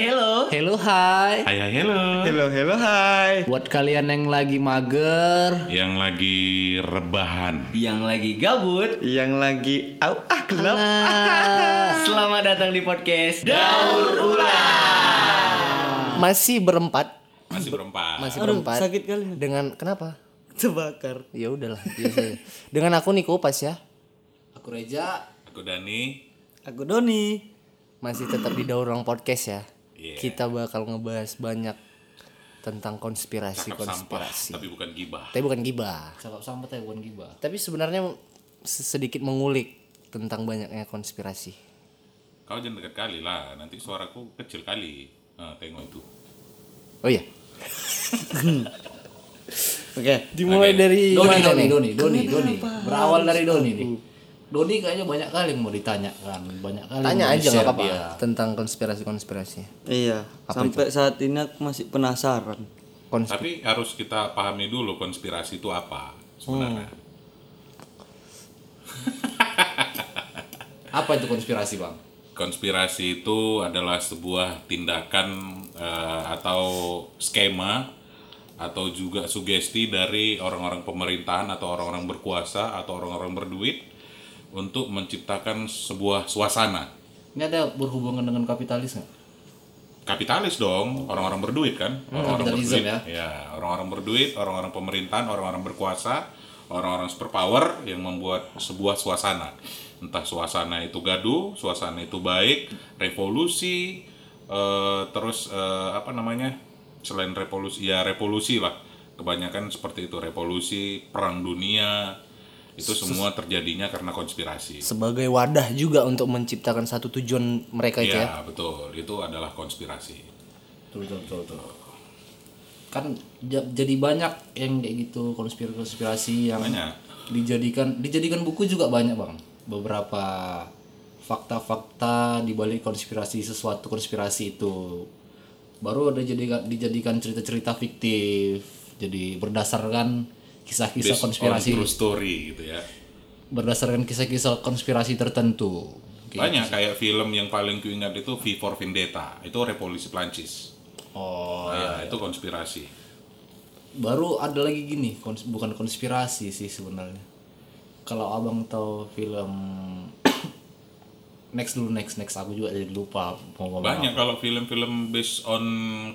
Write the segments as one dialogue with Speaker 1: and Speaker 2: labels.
Speaker 1: hello hai.
Speaker 2: Hai hai hello.
Speaker 3: Hello, hello, hai.
Speaker 1: Buat kalian yang lagi mager,
Speaker 2: Yang lagi rebahan.
Speaker 4: Yang lagi gabut,
Speaker 3: Yang lagi Iya. au ah gelap.
Speaker 4: selamat datang di podcast Daur
Speaker 5: masih berempat
Speaker 2: Masih berempat.
Speaker 5: masih berempat
Speaker 6: sakit kali.
Speaker 5: dengan kenapa
Speaker 6: Terbakar.
Speaker 5: ya udahlah biasa aja. dengan aku Niko pas ya
Speaker 1: aku Reja.
Speaker 2: Aku Dani.
Speaker 6: Aku Doni.
Speaker 5: masih tetap di daur ulang podcast ya
Speaker 2: Iya.
Speaker 5: kita bakal ngebahas banyak tentang konspirasi
Speaker 2: Cakap sampah,
Speaker 5: konspirasi
Speaker 2: tapi bukan gibah.
Speaker 5: tapi bukan gibah
Speaker 1: Cakap sampah tapi ya, bukan gibah.
Speaker 5: tapi sebenarnya se- sedikit mengulik tentang banyaknya konspirasi
Speaker 2: Kau jangan dekat kali lah, nanti suaraku kecil kali. Nah, tengok itu.
Speaker 5: oh iya
Speaker 6: Oke.
Speaker 5: dimulai dari
Speaker 1: Doni,
Speaker 5: mana
Speaker 1: Doni,
Speaker 5: nih?
Speaker 1: Doni, Doni, Doni. Berawal dari Doni nih.
Speaker 5: Hmm.
Speaker 1: Doni kayaknya banyak kali yang mau ditanyakan, banyak kali.
Speaker 5: tanya aja
Speaker 1: yang mau
Speaker 5: nggak
Speaker 1: di-share
Speaker 5: apa-apa
Speaker 1: dia.
Speaker 5: tentang konspirasi konspirasi
Speaker 6: Iya. sampai saat ini aku masih penasaran.
Speaker 5: konspirasi
Speaker 2: Tapi harus kita pahami dulu konspirasi itu
Speaker 3: Oh.
Speaker 2: apa sebenarnya.
Speaker 1: Apa itu konspirasi bang?
Speaker 2: Konspirasi itu adalah sebuah tindakan eh, atau skema atau juga sugesti dari orang-orang pemerintahan atau orang-orang berkuasa atau orang-orang berduit untuk menciptakan sebuah suasana.
Speaker 1: Ini ada berhubungan dengan kapitalis nggak?
Speaker 2: kapitalis dong orang-orang berduit kan orang-orang
Speaker 1: kapitalism
Speaker 2: berduit ya, orang-orang berduit orang-orang pemerintahan orang-orang berkuasa orang-orang superpower yang membuat sebuah suasana entah suasana itu gaduh suasana itu baik revolusi eh, terus eh, apa namanya selain revolusi ya revolusi lah kebanyakan seperti itu revolusi perang dunia itu semua terjadinya karena konspirasi
Speaker 5: sebagai wadah juga untuk menciptakan satu tujuan mereka itu
Speaker 1: Iya.
Speaker 5: ya
Speaker 2: ya betul itu adalah konspirasi
Speaker 1: Betul, betul, betul, betul. Kan ja- jadi banyak yang kayak gitu konspirasi-konspirasi yang
Speaker 2: Banyak.
Speaker 1: dijadikan dijadikan buku juga banyak bang. Beberapa fakta-fakta di balik konspirasi sesuatu konspirasi itu baru ada jadikan dijadikan cerita-cerita fiktif. Jadi berdasarkan kisah-kisah
Speaker 2: Based on
Speaker 1: konspirasi
Speaker 2: true story gitu ya
Speaker 1: berdasarkan kisah-kisah konspirasi tertentu. Gitu. Oke.
Speaker 2: Banyak kayak film yang paling kuingat itu V for Vendetta. Itu revolusi Prancis.
Speaker 1: Oh,
Speaker 2: Nah, itu konspirasi.
Speaker 1: baru ada lagi gini kons- bukan konspirasi sih sebenarnya kalau abang tahu film next dulu next next aku juga jadi lupa mau ngomong
Speaker 2: Banyak kalau film-film based on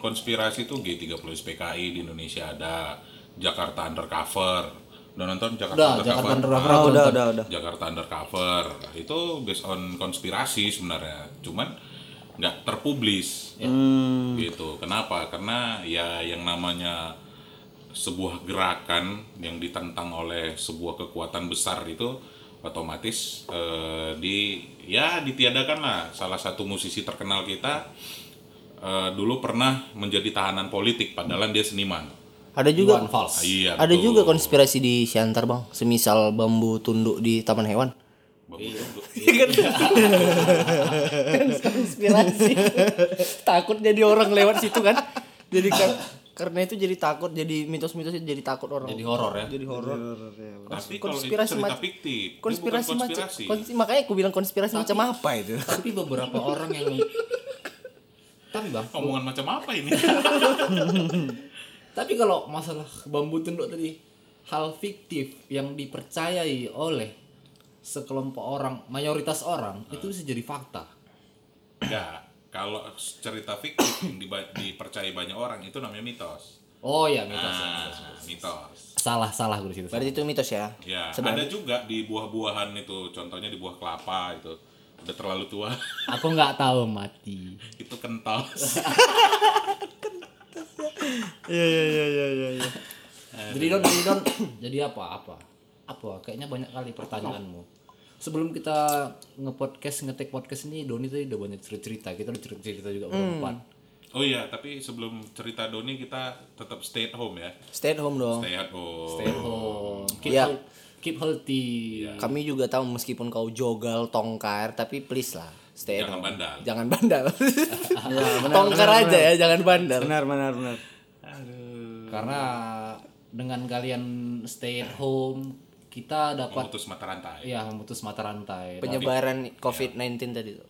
Speaker 2: konspirasi itu G30 SPKI di Indonesia ada Jakarta Undercover. Udah nonton Jakarta
Speaker 1: udah
Speaker 2: Undercover?
Speaker 1: Jakarta
Speaker 2: Ah,
Speaker 1: Undercover
Speaker 6: Ah,
Speaker 1: aku
Speaker 6: udah,
Speaker 1: nonton.
Speaker 6: udah, udah.
Speaker 2: Jakarta Undercover. Nah, Itu based on konspirasi sebenarnya. Cuman nggak terpublis.
Speaker 5: Ya. Hmm.
Speaker 2: Gitu. Kenapa? Karena ya yang namanya sebuah gerakan yang ditentang oleh sebuah kekuatan besar itu otomatis eh, di ya ditiadakan lah salah satu musisi terkenal kita eh, dulu pernah menjadi tahanan politik padahal dia seniman
Speaker 5: ada juga
Speaker 1: Bukan false
Speaker 2: iya
Speaker 5: Ada
Speaker 2: betul.
Speaker 5: juga konspirasi di Siantar bang, semisal bambu tunduk di taman hewan. Iya. Konspirasi. takut jadi orang lewat situ kan? Jadi kar- karena itu jadi takut, jadi mitos-mitos itu jadi takut orang.
Speaker 1: jadi horor ya
Speaker 5: Jadi horor.
Speaker 2: tapi konspirasi
Speaker 5: konspirasi
Speaker 2: kalau itu cerita
Speaker 5: mac-
Speaker 2: fiktif dia bukan
Speaker 5: Konspirasi, macam,
Speaker 2: konspirasi.
Speaker 5: konsi- makanya aku bilang konspirasi macam apa itu?
Speaker 1: tapi beberapa orang yang tapi bang
Speaker 2: omongan macam apa ini
Speaker 1: tapi kalau masalah bambu tunduk tadi hal fiktif yang dipercayai oleh sekelompok orang mayoritas orang
Speaker 2: Ah.
Speaker 1: itu bisa jadi fakta
Speaker 2: ya kalau cerita fiktif yang diba- dipercayai banyak orang itu namanya mitos
Speaker 1: oh ya mitos ya,
Speaker 2: Nah,
Speaker 1: mitos, mitos.
Speaker 2: mitos
Speaker 1: salah salah gue di situ
Speaker 5: Berarti itu mitos ya?
Speaker 2: Ya,
Speaker 5: Sebab-
Speaker 2: ada juga di buah-buahan itu, contohnya di buah kelapa itu. Udah terlalu tua,
Speaker 1: aku nggak tahu mati
Speaker 2: itu kental.
Speaker 3: Iya, iya, iya, iya, iya, iya.
Speaker 1: Eh, jadi don jadi don jadi apa apa apa kayaknya banyak kali pertanyaanmu sebelum kita ngepodcast ngetek podcast ini Doni tadi udah banyak cerita cerita kita udah cerita cerita juga berempat
Speaker 2: Oh iya, tapi sebelum cerita Doni kita tetap stay at home ya.
Speaker 5: Stay at home dong.
Speaker 2: Stay at home.
Speaker 1: stay at home keep,
Speaker 5: Iya.
Speaker 1: heal- keep healthy
Speaker 5: Kami juga tahu meskipun kau jogal tongkar, tapi please lah stay
Speaker 2: Jangan Iya,
Speaker 5: at home.
Speaker 2: bandal.
Speaker 5: Jangan bandal. tongkar aja ya, jangan bandal.
Speaker 3: Benar, benar, benar.
Speaker 1: karena dengan kalian stay at home Iya. kita dapat
Speaker 2: Memutus mata rantai. Iya.
Speaker 1: ya memutus mata rantai
Speaker 5: penyebaran COVID-19 tadi tuh.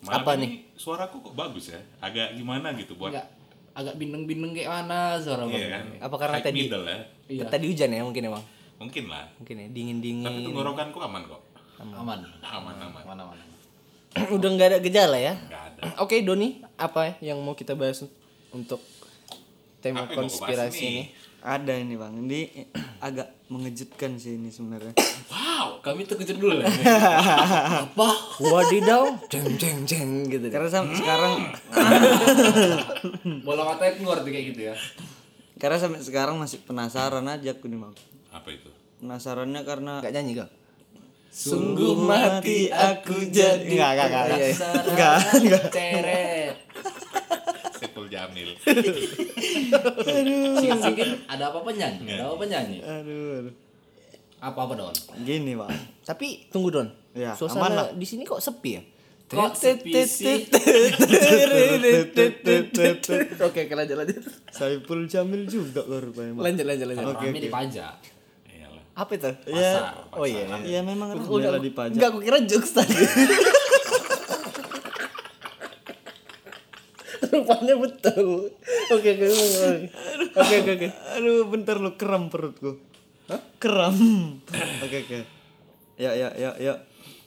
Speaker 2: Malam
Speaker 1: Apa
Speaker 2: ini Suaraku kok bagus ya. Agak gimana gitu buat
Speaker 1: Enggak agak bindeng-bindeng kayak mana suara
Speaker 2: iya
Speaker 1: bang.
Speaker 2: kan.
Speaker 5: Apa karena
Speaker 2: High
Speaker 5: tadi-
Speaker 2: middle ya?
Speaker 1: Iya.
Speaker 5: Tadi hujan ya mungkin emang.
Speaker 2: Mungkin lah.
Speaker 5: Mungkin ya dingin-dingin.
Speaker 2: Tapi tenggorokanku aman kok.
Speaker 1: Aman.
Speaker 2: Aman aman.
Speaker 1: Aman aman. aman.
Speaker 5: Udah nggak ada gejala ya.
Speaker 2: Enggak ada.
Speaker 5: Oke, Doni, apa ya yang mau kita bahas untuk tema
Speaker 2: Apa yang mau gue bahas
Speaker 5: konspirasi
Speaker 2: ini?
Speaker 5: ini?
Speaker 6: Ada ini bang, ini agak mengejutkan sih ini sebenarnya.
Speaker 1: Wow, kami terkejut dulu lah.
Speaker 5: Wah, wadidaw, jeng jeng jeng gitu.
Speaker 6: Karena sam- sekarang,
Speaker 1: Bola matanya keluar tuh kayak gitu ya.
Speaker 6: karena sampai sekarang masih penasaran aja aku nih bang.
Speaker 2: Apa itu?
Speaker 6: Penasarannya karena
Speaker 5: Enggak nyanyi kok.
Speaker 6: sungguh mati aku jadi.
Speaker 5: Enggak, enggak, enggak. enggak.
Speaker 1: Enggak, enggak. Ceret.
Speaker 2: Saiful Jamil.
Speaker 1: Sing-singin ada apa-apa nyanyi? Ada apa-apa nyanyi?
Speaker 6: Aduh, aduh.
Speaker 1: Apa-apa Don?
Speaker 6: Gini bang.
Speaker 5: Tapi tunggu Don.
Speaker 6: Ya, aman lah.
Speaker 5: Suasana di sini kok sepi ya?
Speaker 1: Kok sepi sih?
Speaker 5: Oke, oke, lanjut lanjut.
Speaker 6: Saiful Jamil juga kok rupanya bang.
Speaker 5: Lanjut lanjut lanjut.
Speaker 1: Kami dipajak.
Speaker 2: Iyalah.
Speaker 5: Apa itu?
Speaker 2: Pasar.
Speaker 5: Oh iya.
Speaker 6: Ya, Iya memang udah
Speaker 5: aku-
Speaker 6: dipajak.
Speaker 5: Enggak, aku kira jokes tadi. Rupanya betul. Oke, oke, oke. Oke, oke, oke.
Speaker 6: Aduh, bentar lu kram perutku. Hah? Kram. Oke oke. Ya ya ya ya.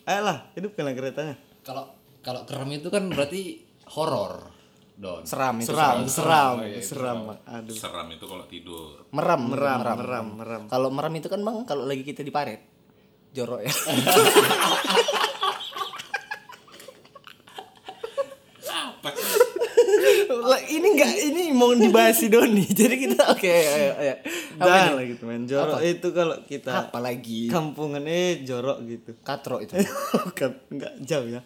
Speaker 6: Ayolah, hidupkanlah keretanya.
Speaker 1: Kalau kalau kerem itu kan berarti horor. Don.
Speaker 5: Seram Oh, iya, itu.
Speaker 6: Seram, seram, seram. Bang. Aduh.
Speaker 2: Seram itu kalau tidur.
Speaker 5: Meram, meram,
Speaker 6: Meram, meram, meram.
Speaker 5: Kalau meram itu kan bang, kalau lagi kita di paret, jorok ya. Lah, ini enggak, ini mau dibahas si Doni. Jadi kita oke, ayo, ayo, ayo. Apa
Speaker 6: Dan
Speaker 5: ini?
Speaker 6: lah gitu men. Jorok itu kalau kita
Speaker 5: Apa lagi?
Speaker 6: kampungan eh jorok gitu.
Speaker 5: Katro itu.
Speaker 6: Bukan, enggak jauh ya.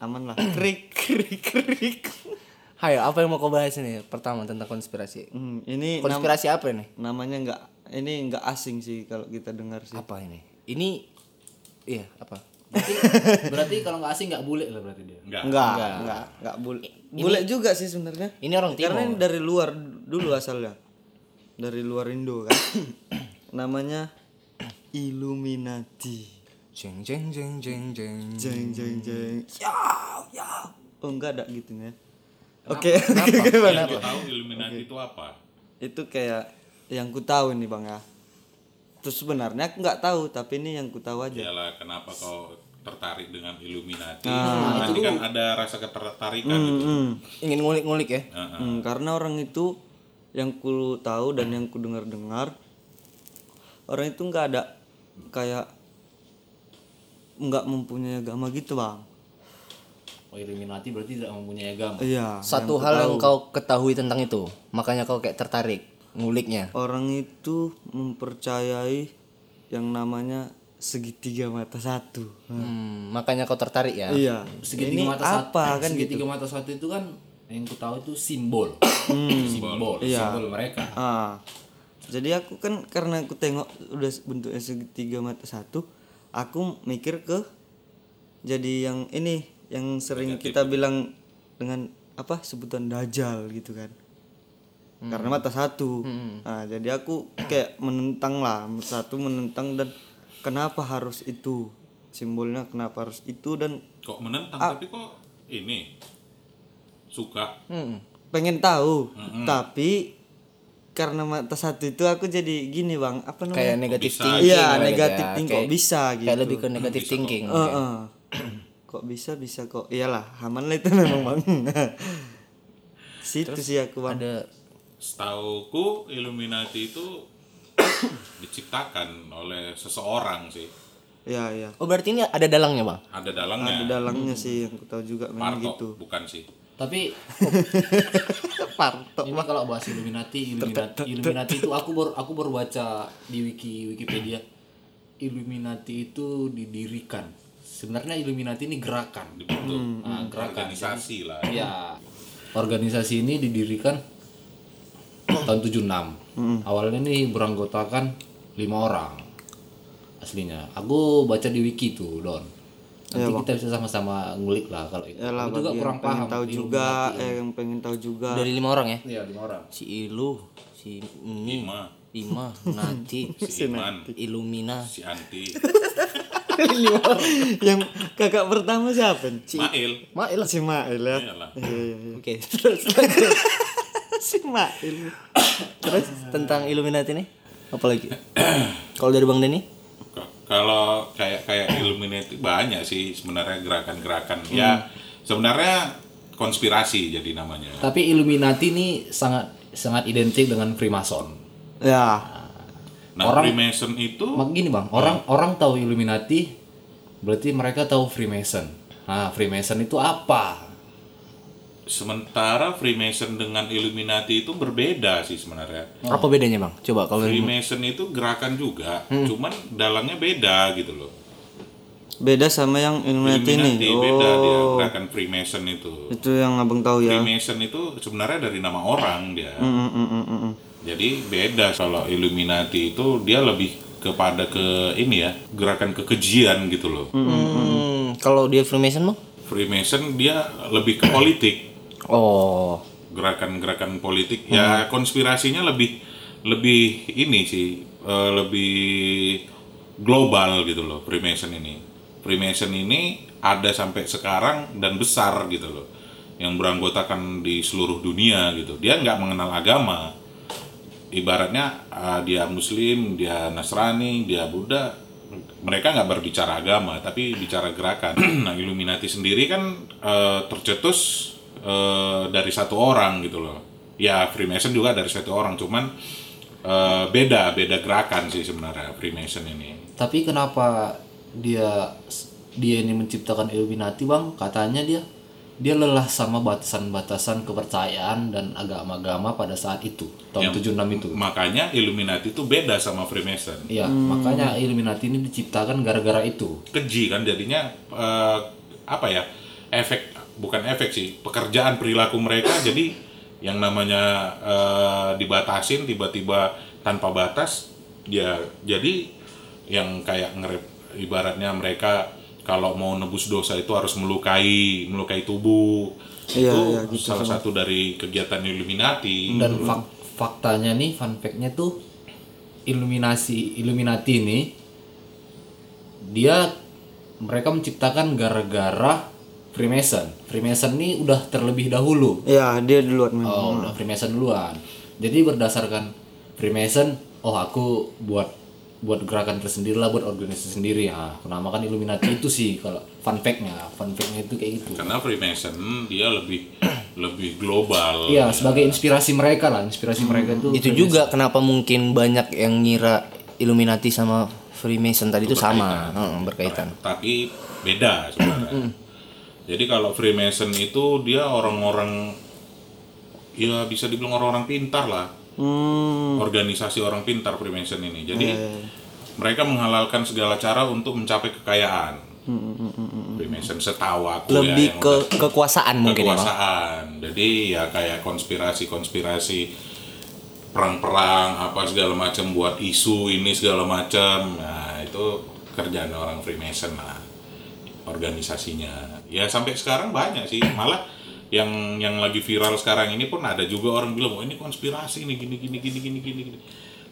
Speaker 6: Aman lah. Krik krik krik.
Speaker 5: Hayo, apa yang mau kau bahas ini? Pertama tentang konspirasi.
Speaker 6: Hmm, ini nam-
Speaker 5: Konspirasi apa ini?
Speaker 6: namanya enggak ini enggak asing sih kalau kita dengar sih.
Speaker 5: Apa ini? Ini iya, apa?
Speaker 1: Berarti, berarti kalau nggak asing nggak boleh lah berarti dia.
Speaker 2: Enggak.
Speaker 6: Enggak, enggak, enggak boleh. Boleh juga sih sebenarnya.
Speaker 5: Ini orang
Speaker 6: Karena
Speaker 5: Timur.
Speaker 6: ini dari luar dulu asalnya. Dari luar Indo kan. Namanya Illuminati.
Speaker 5: Jeng jeng jeng jeng jeng.
Speaker 6: Jeng jeng jeng. Ya, ya. Oh enggak ada gitu ya. Oke, oke, oke, Bang.
Speaker 2: Yang gue tahu Illuminati itu apa?
Speaker 6: Itu kayak yang ku tahu nih Bang ya. Terus sebenarnya aku nggak tahu, tapi ini yang ku tahu aja.
Speaker 2: Iyalah kenapa kau tertarik dengan Illuminati?
Speaker 6: Ah,
Speaker 2: Nanti kan ada rasa ketertarikan gitu.
Speaker 5: Ingin ngulik-ngulik ya?
Speaker 1: Ah.
Speaker 6: Hmm, karena orang itu yang ku tahu dan yang ku dengar-dengar orang itu nggak ada kayak nggak mempunyai agama gitu bang.
Speaker 1: Oh Illuminati berarti tidak mempunyai agama.
Speaker 6: Iya.
Speaker 5: Satu hal yang kau ketahui tentang itu, makanya kau kayak tertarik nguliknya.
Speaker 6: Orang itu mempercayai yang namanya segitiga mata satu.
Speaker 5: Hmm, makanya kau tertarik ya?
Speaker 6: Iya.
Speaker 1: Ya. Segitiga
Speaker 6: Ini
Speaker 1: mata satu-
Speaker 6: apa kan gitu?
Speaker 1: segitiga mata satu itu kan yang ku tahu itu simbol.
Speaker 6: Hmm.
Speaker 1: simbol,
Speaker 6: Iya.
Speaker 1: simbol mereka.
Speaker 6: Ah, jadi aku kan karena aku tengok udah bentuknya segitiga mata satu, aku mikir ke jadi yang ini yang sering kita bilang dengan apa sebutan dajal gitu kan. Karena mata satu. Nah, jadi aku kayak menentang lah, mata satu menentang dan kenapa harus itu? Simbolnya kenapa harus itu dan
Speaker 2: Kok menentang
Speaker 6: Ah.
Speaker 2: tapi kok ini suka
Speaker 5: Hmm,
Speaker 6: pengen tahu. Tapi karena mata satu itu aku jadi gini, Bang. Apa namanya?
Speaker 5: Kayak negatif
Speaker 2: bisa?
Speaker 5: thinking.
Speaker 6: Iya,
Speaker 5: kali
Speaker 6: negatif
Speaker 5: ya.
Speaker 6: thinking
Speaker 5: Kayak-
Speaker 6: kok bisa gitu.
Speaker 5: Kayak lebih ke negatif thinking.
Speaker 6: Eh, eh. kok bisa bisa kok. Iyalah, aman lah itu memang Bang. Situ sih aku Bang.
Speaker 5: Ada
Speaker 2: Setauku Illuminati itu diciptakan oleh seseorang sih.
Speaker 6: Ya, ya.
Speaker 5: Oh, berarti ini ada dalangnya, Bang?
Speaker 2: Ada
Speaker 6: Ada
Speaker 2: dalangnya.
Speaker 6: dalangnya sih yang aku tahu juga memang
Speaker 2: Parto,
Speaker 6: gitu.
Speaker 2: bukan sih.
Speaker 1: Tapi
Speaker 6: Parto.
Speaker 1: ini kalau bahas Illuminati, Illuminati, Illuminati itu aku baru aku baru baca di wiki Wikipedia. Illuminati itu didirikan. Sebenarnya Illuminati ini gerakan.
Speaker 2: Dibentuk
Speaker 6: Hmm.
Speaker 1: Nah, gerakan.
Speaker 2: organisasi lah.
Speaker 1: Ya. Organisasi ini didirikan tahun 76.
Speaker 6: Hmm.
Speaker 1: Awalnya nih beranggotakan lima orang aslinya. Aku baca di wiki tuh, Don. Nanti kita bisa sama-sama ngulik lah kalau itu.
Speaker 6: Ya, Yalah,
Speaker 1: Aku juga
Speaker 6: bagi yang
Speaker 1: kurang
Speaker 6: pengen
Speaker 1: paham.
Speaker 6: tahu juga, eh, yang pengen tahu juga.
Speaker 5: Dari lima orang ya?
Speaker 1: Iya, lima orang.
Speaker 5: Si Ilu, si ini,
Speaker 2: Ima,
Speaker 5: Ima, Nati,
Speaker 2: si Iman,
Speaker 5: Illumina,
Speaker 2: si Anti,
Speaker 6: yang kakak pertama siapa nih? Si
Speaker 2: Mail.
Speaker 5: Mail lah.
Speaker 6: si Mail ya
Speaker 2: Iyalah.
Speaker 6: Iya, iya, iya.
Speaker 5: Oke, terus lanjut.
Speaker 6: si Mail
Speaker 5: terus tentang Illuminati nih. Apalagi? Kalau dari Bang Denny?
Speaker 2: K- Kalau kayak kayak Illuminati banyak sih sebenarnya gerakan-gerakan.
Speaker 6: Hmm.
Speaker 2: Ya sebenarnya konspirasi jadi namanya.
Speaker 1: Tapi Illuminati ini sangat sangat identik dengan Freemason.
Speaker 6: ya
Speaker 2: Nah,
Speaker 1: Orang-
Speaker 2: Freemason itu
Speaker 1: Mak gini bang, orang orang tahu Illuminati, berarti mereka tahu Freemason. Nah, Freemason itu apa?
Speaker 2: sementara Freemason dengan Illuminati itu berbeda sih sebenarnya.
Speaker 5: Apa bedanya Bang? Coba kalau dari-
Speaker 2: Freemason itu gerakan juga,
Speaker 6: Hmm.
Speaker 2: cuman dalangnya beda gitu loh.
Speaker 6: beda sama yang Illuminati ini
Speaker 2: Illuminati
Speaker 6: Oh.
Speaker 2: beda dia gerakan Freemason itu.
Speaker 6: itu yang abang tahu ya
Speaker 2: Freemason itu sebenarnya dari nama orang dia. Jadi beda kalau Illuminati itu dia lebih kepada ke ini ya gerakan kekejian gitu loh.
Speaker 5: Hmm, kalau dia Freemason Bang?
Speaker 2: Freemason dia lebih ke politik,
Speaker 5: Oh,
Speaker 2: gerakan-gerakan politik. Ya konspirasinya lebih lebih ini sih eh, lebih global gitu loh Freemason ini. Freemason ini ada sampai sekarang dan besar gitu loh yang beranggotakan di seluruh dunia gitu. Dia nggak mengenal agama. Ibaratnya ah, dia Muslim, dia Nasrani, dia Buddha, mereka nggak berbicara agama tapi bicara gerakan. nah Illuminati sendiri kan eh, tercetus eh, dari satu orang gitu loh. Ya Freemason juga dari satu orang, cuman eh, beda beda gerakan sih sebenarnya Freemason ini.
Speaker 1: Tapi kenapa dia dia ini menciptakan Illuminati bang? Katanya dia dia lelah sama batasan-batasan kepercayaan dan agama-agama pada saat itu tahun 76
Speaker 2: Hmm.
Speaker 1: itu.
Speaker 2: Makanya Illuminati itu beda sama Freemason.
Speaker 1: Iya, makanya Illuminati ini diciptakan gara-gara itu.
Speaker 2: Keji kan jadinya eh, apa ya? Efek bukan efek sih, pekerjaan perilaku mereka jadi yang namanya eh, dibatasin tiba-tiba tanpa batas ya jadi yang kayak ngerep ibaratnya mereka kalau mau nebus dosa itu harus melukai melukai tubuh
Speaker 6: Iya,
Speaker 2: itu
Speaker 6: iya, gitu Iya.
Speaker 2: salah satu dari kegiatan Illuminati
Speaker 1: Dan fak- faktanya nih, fun fact-nya tuh Illuminasi Illuminati ini dia mereka menciptakan gara-gara Freemason. Freemason ini udah terlebih dahulu.
Speaker 6: ya dia duluan memang
Speaker 1: Oh, udah Freemason duluan. Jadi berdasarkan Freemason, oh aku buat buat gerakan tersendiri lah, buat organisasi sendiri ya. Aku namakan Illuminati itu sih kalau fun fact-nya. Fun fact-nya itu kayak gitu.
Speaker 2: karena Freemason dia lebih lebih global
Speaker 1: Iya, sebagai inspirasi mereka lah, inspirasi mereka itu.
Speaker 5: itu juga kenapa mungkin banyak yang ngira Illuminati sama Freemason tadi itu sama, Heeh, berkaitan.
Speaker 2: tapi beda sebenarnya. Jadi kalau Freemason itu dia orang-orang ya bisa dibilang orang-orang pintar lah.
Speaker 5: Hmm.
Speaker 2: Organisasi orang pintar Freemason ini. Jadi
Speaker 5: Iya,
Speaker 2: mereka menghalalkan segala cara untuk mencapai kekayaan. Freemason setahu aku ya
Speaker 5: Lebih
Speaker 2: yang
Speaker 5: ke
Speaker 2: udah-
Speaker 5: kekuasaan mungkin ya, Bang.
Speaker 2: kekuasaan. Jadi ya kayak konspirasi-konspirasi perang-perang apa segala macam buat isu ini segala macam. Nah, itu kerjaan orang Freemason lah organisasinya. Ya sampai sekarang banyak sih. Malah yang yang lagi viral sekarang ini pun ada juga orang bilang, "Wah, ini konspirasi nih gini gini gini gini gini." gini."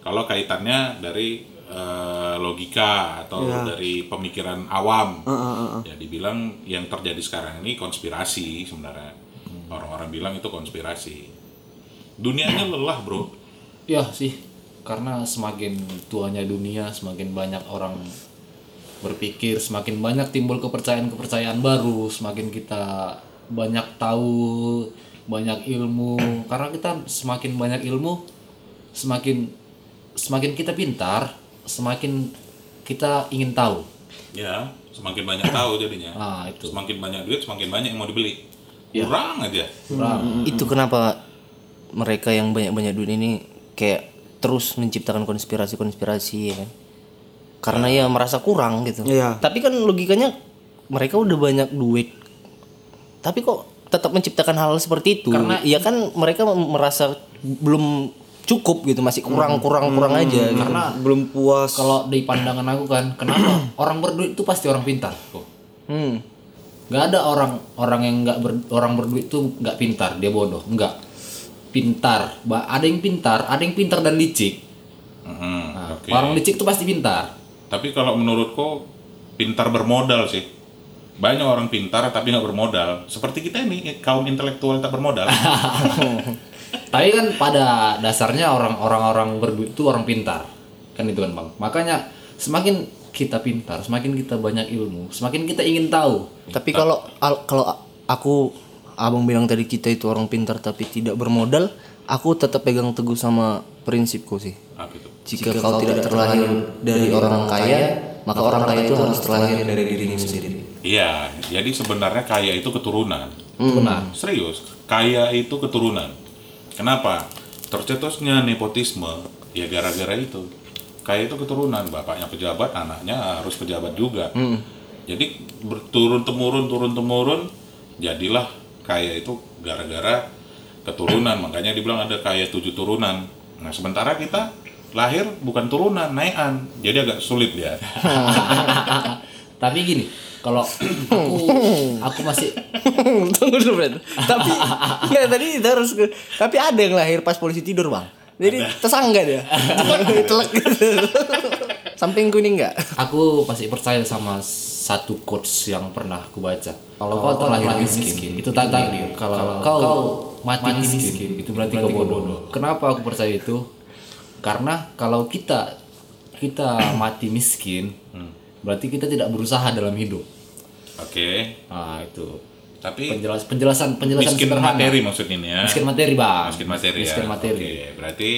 Speaker 2: Kalau kaitannya dari eh, logika atau dari pemikiran awam. Ya dibilang yang terjadi sekarang ini konspirasi sebenarnya. Orang-orang bilang itu konspirasi. Dunianya lelah, Bro.
Speaker 1: Ya sih, karena semakin tuanya dunia, semakin banyak orang berpikir, semakin banyak timbul kepercayaan-kepercayaan baru, semakin kita banyak tahu, banyak ilmu. Karena kita semakin banyak ilmu, semakin semakin kita pintar, semakin kita ingin tahu.
Speaker 2: Ya, semakin banyak tahu jadinya.
Speaker 1: Ah, itu.
Speaker 2: Semakin banyak duit, semakin banyak yang mau dibeli. Kurang aja.
Speaker 1: Kurang.
Speaker 5: Itu kenapa mereka yang banyak-banyak duit ini kayak terus menciptakan konspirasi-konspirasi ya kan? Karena ya merasa kurang gitu.
Speaker 6: Iya.
Speaker 5: Tapi kan logikanya mereka udah banyak duit. Tapi kok tetap menciptakan hal seperti itu? Karena ya kan mereka merasa belum cukup gitu, masih kurang-kurang kurang aja. gitu.
Speaker 1: Karena
Speaker 6: belum puas
Speaker 1: kalau di pandangan aku kan, kenapa orang berduit itu pasti orang pintar? Oh.
Speaker 5: Hmm.
Speaker 1: nggak ada orang orang yang nggak ber- orang berduit tuh nggak pintar dia bodoh nggak pintar Ba- ada yang pintar ada yang pintar dan licik
Speaker 2: Mhm,
Speaker 1: Nah,
Speaker 2: oke.
Speaker 1: orang licik tuh pasti pintar
Speaker 2: Tapi kalau menurutku pintar bermodal sih banyak orang pintar tapi nggak bermodal seperti kita ini kaum intelektual tak bermodal Ah,
Speaker 1: Tapi kan pada dasarnya orang-orang orang berduit itu orang pintar. Kan itu kan Bang. Makanya semakin kita pintar, semakin kita banyak ilmu, semakin kita ingin tahu.
Speaker 5: Tapi kalau al- kalau a- aku abang bilang tadi kita itu orang pintar tapi tidak bermodal, aku tetap pegang teguh sama prinsipku sih.
Speaker 2: Apa itu?
Speaker 5: Jika, kau, tidak terlahir dari orang kaya, maka orang kaya itu harus terlahir dari dirimu sendiri.
Speaker 2: iya jadi sebenarnya kaya itu keturunan
Speaker 1: Benar.
Speaker 2: Serius, kaya itu keturunan. Kenapa? Tercetusnya nepotisme ya gara-gara itu. Kaya itu keturunan, bapaknya pejabat, anaknya harus pejabat juga. Jadi berturun temurun, turun temurun, jadilah kaya itu gara-gara keturunan. Makanya dibilang ada kaya tujuh turunan. Nah sementara kita lahir bukan turunan, naikan. Jadi agak sulit ya.
Speaker 1: Tapi gini, kalau aku aku masih
Speaker 5: Tunggu dulu, Bret. Tapi enggak tadi kita harus ke- tapi ada yang lahir pas polisi tidur, Bang. Jadi tersangka dia. Telek gitu. Sampingku ini enggak.
Speaker 1: aku masih percaya sama satu quotes yang pernah aku baca. Kalau kau terlahir miskin, itu tak takdir. Kalau kau mati, miskin, itu berarti kau bodoh. Kenapa aku percaya itu? Karena kalau kita kita mati miskin, berarti kita tidak berusaha dalam hidup.
Speaker 2: Oke,
Speaker 1: Nah, itu
Speaker 2: tapi
Speaker 1: penjelas penjelasan penjelasan
Speaker 2: miskin
Speaker 1: sederhana.
Speaker 2: materi maksudnya ini ya.
Speaker 1: Miskin materi, Bang.
Speaker 2: miskin materi
Speaker 1: Miskin
Speaker 2: ya.
Speaker 1: materi. kan
Speaker 2: Oke, berarti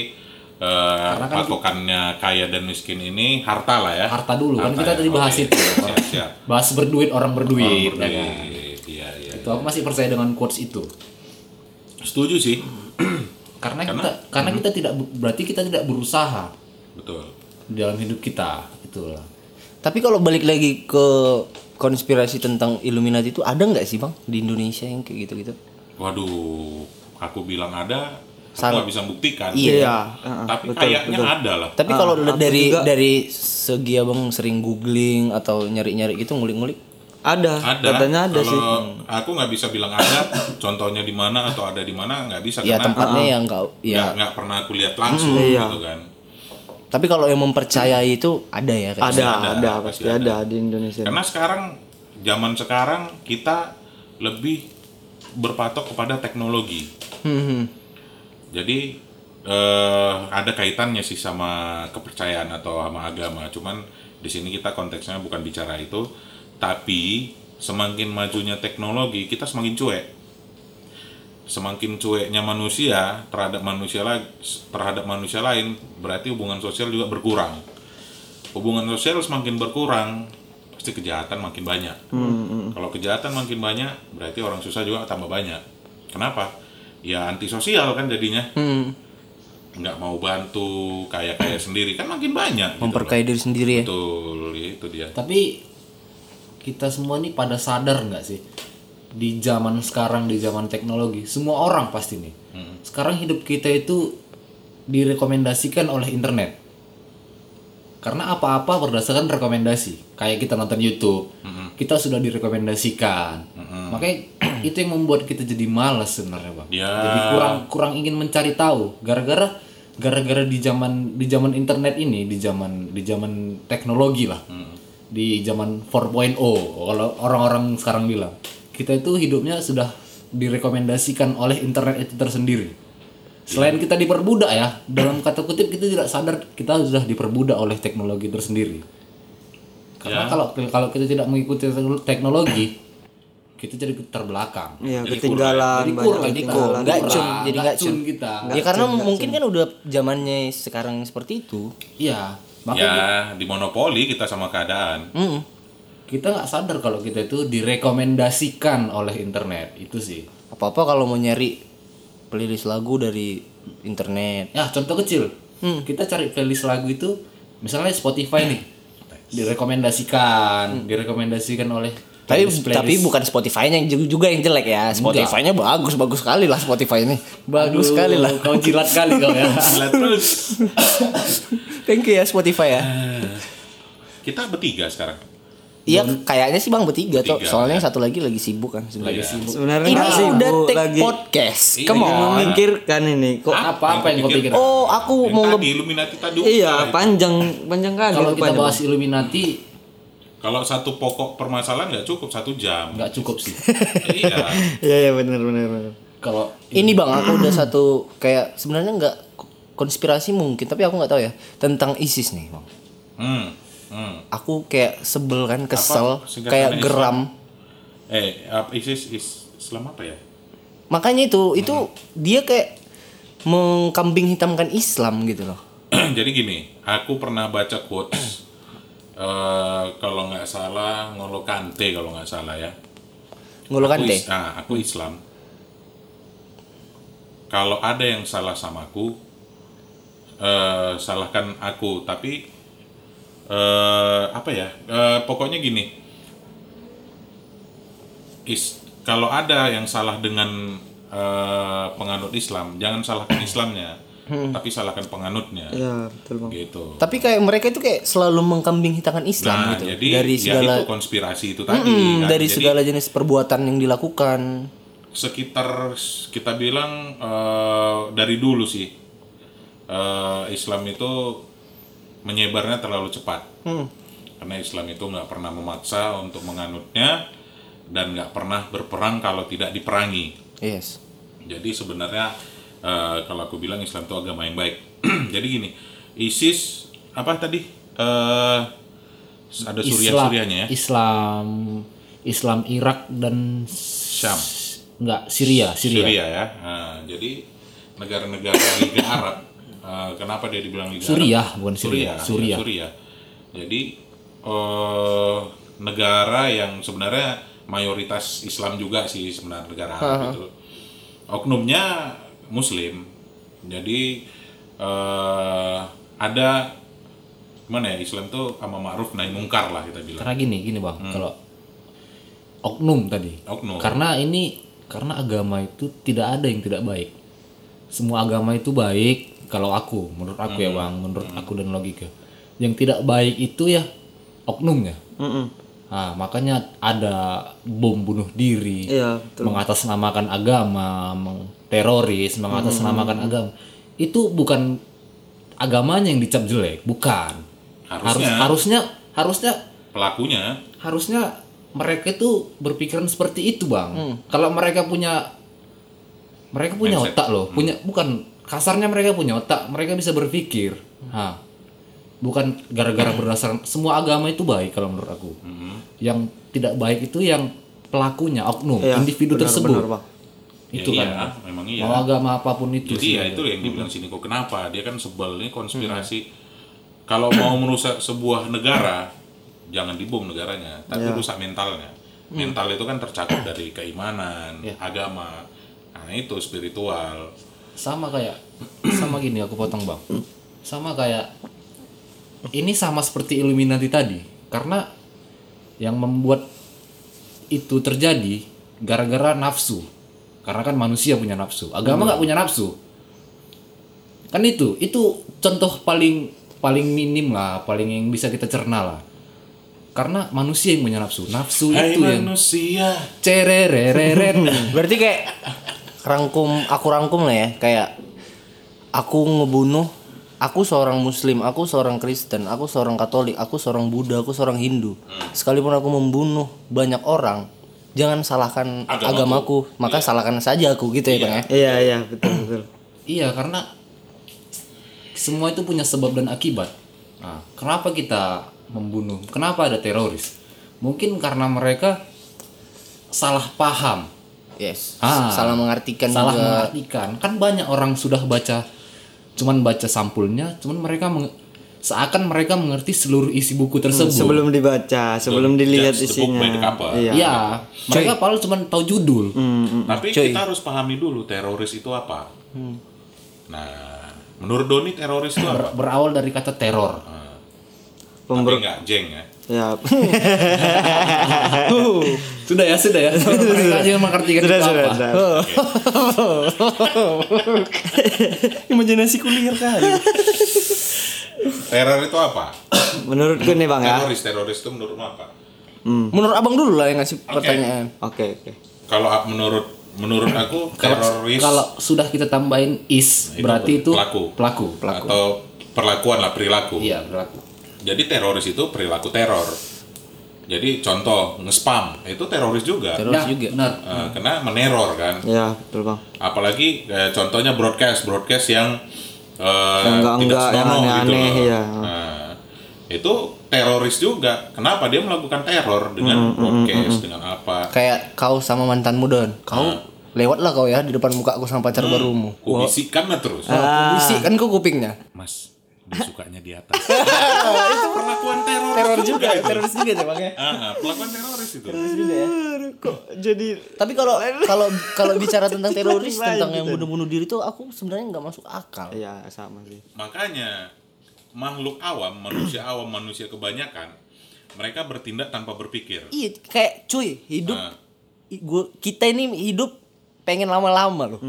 Speaker 2: eh, patokannya kaya dan miskin ini harta lah ya.
Speaker 1: Harta dulu kan
Speaker 2: Harta
Speaker 1: kita
Speaker 2: ya,
Speaker 1: tadi bahas
Speaker 2: oke.
Speaker 1: itu.
Speaker 2: Siap, siap.
Speaker 1: Bahas berduit orang berduit. ya kan?
Speaker 2: Berduit, Iya, iya.
Speaker 1: Itu aku masih percaya dengan quotes itu.
Speaker 2: Setuju sih.
Speaker 1: karena,
Speaker 2: Karena- Hmm.
Speaker 1: kita karena kita tidak berarti kita tidak berusaha
Speaker 2: Betul.
Speaker 1: di dalam hidup kita gitu itulah
Speaker 5: Tapi kalau balik lagi ke konspirasi tentang Illuminati itu ada nggak sih bang di Indonesia yang kayak gitu-gitu?
Speaker 2: Waduh, aku bilang ada, aku
Speaker 5: San-
Speaker 2: nggak bisa buktikan.
Speaker 1: ya.
Speaker 5: Iya.
Speaker 2: Tapi kayaknya ada lah.
Speaker 5: Tapi kalau dari dari segi abang sering googling atau nyari-nyari gitu ngulik-ngulik,
Speaker 6: Ada,
Speaker 2: Ada.
Speaker 6: katanya ada
Speaker 2: Kalau
Speaker 6: sih.
Speaker 2: Aku nggak bisa bilang ada. contohnya di mana atau ada di mana nggak bisa
Speaker 5: ya
Speaker 1: Iya,
Speaker 2: karena
Speaker 5: tempatnya yang enggak ya.
Speaker 2: nggak nggak pernah aku lihat langsung
Speaker 1: Hmm,
Speaker 2: gitu kan.
Speaker 5: Tapi kalau yang mempercayai itu ada ya. kayak
Speaker 6: Ada,
Speaker 2: ada,
Speaker 6: ada,
Speaker 2: pasti
Speaker 6: pasti ada. di Indonesia.
Speaker 2: Karena sekarang zaman sekarang kita lebih berpatok kepada teknologi. Jadi eh, ada kaitannya sih sama kepercayaan atau sama agama. Cuman di sini kita konteksnya bukan bicara itu, tapi semakin majunya teknologi kita semakin cuek. Semakin cueknya manusia terhadap manusia la- terhadap manusia lain, berarti hubungan sosial juga berkurang. Hubungan sosial semakin berkurang, pasti kejahatan makin banyak.
Speaker 5: Hmm.
Speaker 2: Kalau kejahatan makin banyak, berarti orang susah juga tambah banyak. Kenapa? Ya antisosial kan jadinya
Speaker 5: Hmm.
Speaker 2: nggak mau bantu kaya kaya sendiri kan makin banyak gitu
Speaker 5: memperkaya diri sendiri ya.
Speaker 2: loh. betul itu dia
Speaker 1: tapi kita semua ini pada sadar nggak sih di zaman sekarang di zaman teknologi semua orang pasti nih
Speaker 2: Hmm.
Speaker 1: sekarang hidup kita itu direkomendasikan oleh internet karena apa-apa berdasarkan rekomendasi kayak kita nonton YouTube
Speaker 2: Hmm.
Speaker 1: kita sudah direkomendasikan makanya itu yang membuat kita jadi malas sebenarnya bang
Speaker 2: Ya.
Speaker 1: jadi kurang kurang ingin mencari tahu gara-gara gara-gara di zaman di zaman internet ini di zaman di zaman teknologi lah di zaman 4.0 kalau orang-orang sekarang bilang kita itu hidupnya sudah direkomendasikan oleh internet itu tersendiri selain kita diperbudak ya dalam kata kutip kita tidak sadar kita sudah diperbudak oleh teknologi tersendiri karena kalau kalau kita tidak mengikuti teknologi kita jadi terbelakang
Speaker 6: Iya, ketinggalan,
Speaker 1: jadi
Speaker 6: banyak
Speaker 1: kurang jadi
Speaker 6: ketinggalan.
Speaker 1: kurang.
Speaker 5: Nggak cun,
Speaker 1: Kurang,
Speaker 5: jadi
Speaker 1: nggak
Speaker 5: nggak
Speaker 1: cun
Speaker 5: cun.
Speaker 1: kita.
Speaker 5: Ya karena mungkin kan udah zamannya sekarang seperti itu.
Speaker 1: iya makanya
Speaker 2: ya dimonopoli kita sama keadaan
Speaker 5: Mm.
Speaker 1: kita nggak sadar kalau kita itu direkomendasikan oleh internet itu sih
Speaker 5: Apa-apa kalau mau nyari playlist lagu dari internet.
Speaker 1: ya contoh kecil kita cari playlist lagu itu misalnya Spotify nih direkomendasikan direkomendasikan oleh
Speaker 5: Tapi
Speaker 1: playlist-playlist.
Speaker 5: tapi bukan Spotify-nya yang ju- juga yang jelek ya. Spotify-nya bagus bagus sekali lah Spotify ini. Bagus
Speaker 1: Aduh,
Speaker 5: sekali lah.
Speaker 1: kau jilat kali kau ya
Speaker 2: terus
Speaker 5: Thank you ya Spotify ya.
Speaker 2: kita bertiga sekarang
Speaker 5: Iya kayaknya sih Bang bertiga,
Speaker 2: Bertiga,
Speaker 5: Cok. Soalnya yang satu lagi lagi sibuk kan sebenarnya.
Speaker 6: Sebenarnya
Speaker 5: Ini
Speaker 6: nggak sih,
Speaker 5: udah
Speaker 6: Bu,
Speaker 5: take
Speaker 6: lagi
Speaker 5: podcast.
Speaker 2: Iya.
Speaker 5: Come on.
Speaker 6: memikirkan ini kok.
Speaker 1: apa apa yang kau
Speaker 2: Pikir.
Speaker 1: pikirkan
Speaker 5: Oh, aku
Speaker 2: yang
Speaker 5: mau nge- Iya,
Speaker 2: tadi Illuminati tadi
Speaker 6: Iya, panjang panjang kali
Speaker 1: kalau
Speaker 6: rupanya,
Speaker 1: kita
Speaker 6: Bang.
Speaker 1: bahas Illuminati
Speaker 2: Kalau satu pokok permasalahan nggak cukup satu jam.
Speaker 1: nggak cukup sih
Speaker 2: iya.
Speaker 6: Iya iya benar benar benar.
Speaker 1: kalau
Speaker 5: Ini bang, aku udah satu kayak sebenarnya nggak konspirasi mungkin, tapi aku nggak tahu ya tentang ISIS nih bang.
Speaker 2: Hmm. Hmm.
Speaker 5: Aku kayak sebel kan, kesel,
Speaker 2: Apa? Singkatannya
Speaker 5: kayak
Speaker 2: Islam?
Speaker 5: geram.
Speaker 2: Eh, apa- ISIS is Islam apa ya?
Speaker 5: Makanya itu, itu dia kayak mengkambing hitamkan Islam gitu loh.
Speaker 2: Jadi gini, aku pernah baca quotes eh, kalau nggak salah Ngolo Kante kalau nggak salah ya.
Speaker 5: Ngolo
Speaker 2: Aku
Speaker 5: Kante.
Speaker 2: is- ah, aku Islam. Kalau ada yang salah samaku, eh, salahkan aku. Tapi eh, apa ya? Eh, pokoknya gini. Is, kalau ada yang salah dengan eh, penganut Islam, jangan salahkan Islamnya,
Speaker 5: Hmm.
Speaker 2: tapi salahkan penganutnya.
Speaker 6: Iya betul bang.
Speaker 2: Gitu.
Speaker 5: Tapi kayak mereka itu kayak selalu mengkambing hitamkan Islam
Speaker 2: Nah,
Speaker 5: gitu.
Speaker 2: jadi
Speaker 5: dari
Speaker 2: ya
Speaker 5: segala
Speaker 2: itu konspirasi itu tadi. kan.
Speaker 5: Mm, dari
Speaker 2: Jadi,
Speaker 5: segala jenis perbuatan yang dilakukan.
Speaker 2: sekitar kita bilang eh, dari dulu sih eh, Islam itu menyebarnya terlalu cepat karena Islam itu nggak pernah memaksa untuk menganutnya dan nggak pernah berperang kalau tidak diperangi
Speaker 5: Yes.
Speaker 2: jadi sebenarnya eh, kalau aku bilang Islam itu agama yang baik jadi gini ISIS apa tadi Eh, ada Suriah
Speaker 1: Islam
Speaker 2: Surianya ya
Speaker 1: Islam Islam Irak dan
Speaker 2: Syam
Speaker 1: nggak Syria Syria,
Speaker 2: Syria, ya. Nah, jadi negara-negara Liga Arab, eh, kenapa dia dibilang Liga
Speaker 1: Suriah,
Speaker 2: Arab?
Speaker 1: bukan
Speaker 2: Suriah,
Speaker 1: Syria.
Speaker 2: ya,
Speaker 1: Suriah.
Speaker 2: Suriah. Jadi eh, negara yang sebenarnya mayoritas Islam juga sih sebenarnya negara Arab itu. Oknumnya Muslim. Jadi eh, ada gimana ya Islam tuh ama ma'ruf nahi mungkar lah kita bilang.
Speaker 1: karena gini gini bang kalau oknum tadi
Speaker 2: Hmm. Oknum.
Speaker 1: karena ini karena agama itu tidak ada yang tidak baik semua agama itu baik kalau aku menurut aku
Speaker 2: Hmm.
Speaker 1: ya bang menurut aku dan logika yang tidak baik itu ya oknumnya ah makanya ada bom bunuh diri
Speaker 6: Iya, betul.
Speaker 1: mengatasnamakan agama meng- teroris mengatasnamakan
Speaker 6: Hmm.
Speaker 1: agama itu bukan agamanya yang dicap jelek bukan
Speaker 2: Harusnya.
Speaker 1: Harus- harusnya harusnya
Speaker 2: Pelakunya
Speaker 1: harusnya mereka itu berpikiran seperti itu bang
Speaker 6: Hmm.
Speaker 1: kalau mereka punya mereka punya
Speaker 2: Mindset.
Speaker 1: otak
Speaker 6: Hmm.
Speaker 1: loh punya bukan kasarnya mereka punya otak mereka bisa berpikir
Speaker 6: Hmm.
Speaker 1: Nah, bukan gara-gara berdasarkan semua agama itu baik kalau menurut aku
Speaker 6: Hmm.
Speaker 1: yang tidak baik itu yang pelakunya oknum
Speaker 6: Iya,
Speaker 1: individu
Speaker 6: benar,
Speaker 1: tersebut
Speaker 6: benar, Bang.
Speaker 1: itu
Speaker 2: ya
Speaker 1: kan
Speaker 2: iya, memang iya.
Speaker 1: mau agama apapun itu
Speaker 2: Jadi
Speaker 1: sih.
Speaker 2: ya itu yang dibilang sini kok kenapa dia kan sebel ini konspirasi. Kalau mau merusak sebuah negara jangan dibom negaranya, tapi
Speaker 1: Ya.
Speaker 2: rusak mentalnya.
Speaker 1: Mm.
Speaker 2: Mental itu kan tercakup dari keimanan,
Speaker 1: Ya.
Speaker 2: agama, nah itu spiritual.
Speaker 1: sama kayak sama gini aku potong bang sama kayak ini sama seperti Illuminati tadi karena yang membuat itu terjadi gara-gara nafsu karena kan manusia punya nafsu agama nggak punya nafsu kan itu itu contoh paling paling minim lah paling yang bisa kita cerna lah karena manusia yang punya nafsu nafsu
Speaker 2: Hai
Speaker 1: itu yang
Speaker 2: manusia.
Speaker 1: cererereret
Speaker 5: Berarti kayak rangkum aku rangkum lah ya kayak aku ngebunuh aku seorang muslim, aku seorang Kristen, aku seorang Katolik, aku seorang Buddha, aku seorang Hindu. Sekalipun aku membunuh banyak orang, jangan salahkan agamaku,
Speaker 2: Agamaku.
Speaker 5: maka salahkan saja aku gitu ya, Bang ya.
Speaker 6: Iya iya betul betul.
Speaker 1: Iya karena semua itu punya sebab dan akibat. Nah, kenapa kita membunuh? Kenapa ada teroris? Mungkin karena mereka salah paham,
Speaker 5: Yes.
Speaker 1: Ah.
Speaker 5: Salah mengartikan
Speaker 1: salah
Speaker 5: juga.
Speaker 1: mengartikan. Kan banyak orang sudah baca, cuman baca sampulnya, cuman mereka meng- seakan mereka mengerti seluruh isi buku tersebut.
Speaker 6: Hmm, Sebelum dibaca, sebelum dilihat
Speaker 2: Judge the book by the
Speaker 6: isinya.
Speaker 2: cover.
Speaker 6: Iya.
Speaker 1: Iya, mereka paling cuman tahu judul.
Speaker 2: Tapi kita harus pahami dulu teroris itu apa.
Speaker 1: Hmm.
Speaker 2: Nah, menurut Doni teroris itu apa?
Speaker 1: Berawal dari kata teror.
Speaker 2: Tapi nggak jeng ya.
Speaker 6: Ya.
Speaker 1: Sudah ya, sudah ya. mereka aja yang mengartikan
Speaker 6: Sudah
Speaker 1: itu
Speaker 6: sudah.
Speaker 1: apa.
Speaker 6: sudah.
Speaker 5: Imajinasi kuliah kali.
Speaker 2: Teror itu apa?
Speaker 6: Menurutku nih Bang ya.
Speaker 2: Teroris teroris itu menurutmu apa?
Speaker 5: Hmm. Menurut Abang dulu lah yang ngasih pertanyaan.
Speaker 6: Oke oke.
Speaker 2: Kalau a- menurut menurut aku teroris
Speaker 1: kalau sudah kita tambahin
Speaker 2: Nah,
Speaker 1: is
Speaker 2: Itu
Speaker 1: berarti itu
Speaker 2: pelaku.
Speaker 1: pelaku
Speaker 2: atau perlakuan lah perilaku.
Speaker 1: iya berlaku
Speaker 2: Jadi teroris itu perilaku teror. Jadi contoh nge-spam itu teroris juga.
Speaker 5: Teroris
Speaker 1: Nah,
Speaker 5: juga.
Speaker 1: benar.
Speaker 2: Eh, karena meneror kan.
Speaker 6: ya betul bang
Speaker 2: apalagi eh, contohnya broadcast broadcast yang eh, tidak
Speaker 6: Yang enggak-enggak, yang
Speaker 2: senonoh gitu
Speaker 6: aneh-aneh,
Speaker 2: loh.
Speaker 6: ya.
Speaker 2: Nah, itu teroris juga kenapa dia melakukan teror dengan broadcast dengan apa
Speaker 5: Kayak kau sama mantanmu Don. Kau lewatlah kau ya di depan muka aku sama pacar barumu.
Speaker 2: kubisikan lah terus
Speaker 5: Isi kan kau kupingnya.
Speaker 2: mas dia sukanya di atas itu perlakuan teror, juga, itu.
Speaker 5: Teroris juga tuh, Bang, ya.
Speaker 2: Ah, ah, perlakuan teroris itu
Speaker 6: jadi
Speaker 5: Tapi kalau kalau kalau bicara tentang teroris tentang yang bunuh-bunuh diri tuh aku sebenarnya nggak masuk akal.
Speaker 6: ya sama sih
Speaker 2: makanya makhluk awam manusia awam manusia kebanyakan mereka bertindak tanpa berpikir
Speaker 5: Iya, kayak cuy, hidup
Speaker 2: Ah.
Speaker 5: i- gua kita ini hidup pengen lama-lama loh.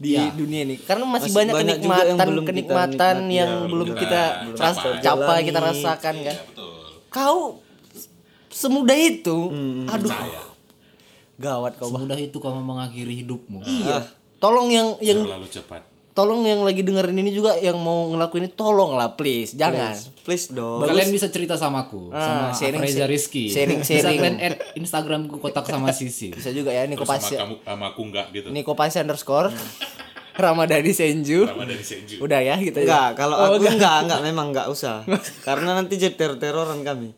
Speaker 5: Di dunia ini Iya. karena masih,
Speaker 6: Masih
Speaker 5: banyak,
Speaker 6: banyak juga yang
Speaker 5: kenikmatan
Speaker 6: belum kita
Speaker 5: kenikmatan
Speaker 6: nikmati,
Speaker 5: yang
Speaker 6: ya,
Speaker 5: belum
Speaker 2: belum
Speaker 5: kita
Speaker 2: kita Iya.
Speaker 5: ras-
Speaker 2: capai.
Speaker 5: capai,
Speaker 6: Jalani.
Speaker 5: kita rasakan kan.
Speaker 2: betul
Speaker 5: Kau semudah itu, aduh.
Speaker 2: Nah, ya,
Speaker 5: Gawat kau. Bang.
Speaker 1: Semudah itu kamu mengakhiri hidupmu. Nah,
Speaker 5: Iya. Tolong yang yang
Speaker 2: terlalu cepat
Speaker 5: tolong yang lagi dengerin ini juga yang mau ngelakuin ini tolonglah please, jangan.
Speaker 6: please dong
Speaker 1: Kalian bisa cerita sama aku,
Speaker 5: Ah,
Speaker 1: sama
Speaker 5: sharing-
Speaker 1: Reza Rizky.
Speaker 5: sharing-
Speaker 1: Bisa
Speaker 5: sharing.
Speaker 1: kalian add Instagramku kotak sama Sisi.
Speaker 5: Bisa juga ya Niko
Speaker 2: terus sama
Speaker 5: Pasya.
Speaker 2: kamu sama aku enggak gitu
Speaker 5: Niko Pasya underscore Ramadhani Senju.
Speaker 2: sama dari Senju
Speaker 5: Udah ya gitu
Speaker 6: enggak
Speaker 5: ya.
Speaker 6: kalau
Speaker 5: Oh,
Speaker 6: aku
Speaker 5: enggak.
Speaker 6: enggak enggak memang enggak usah karena nanti jadi teror teroran kami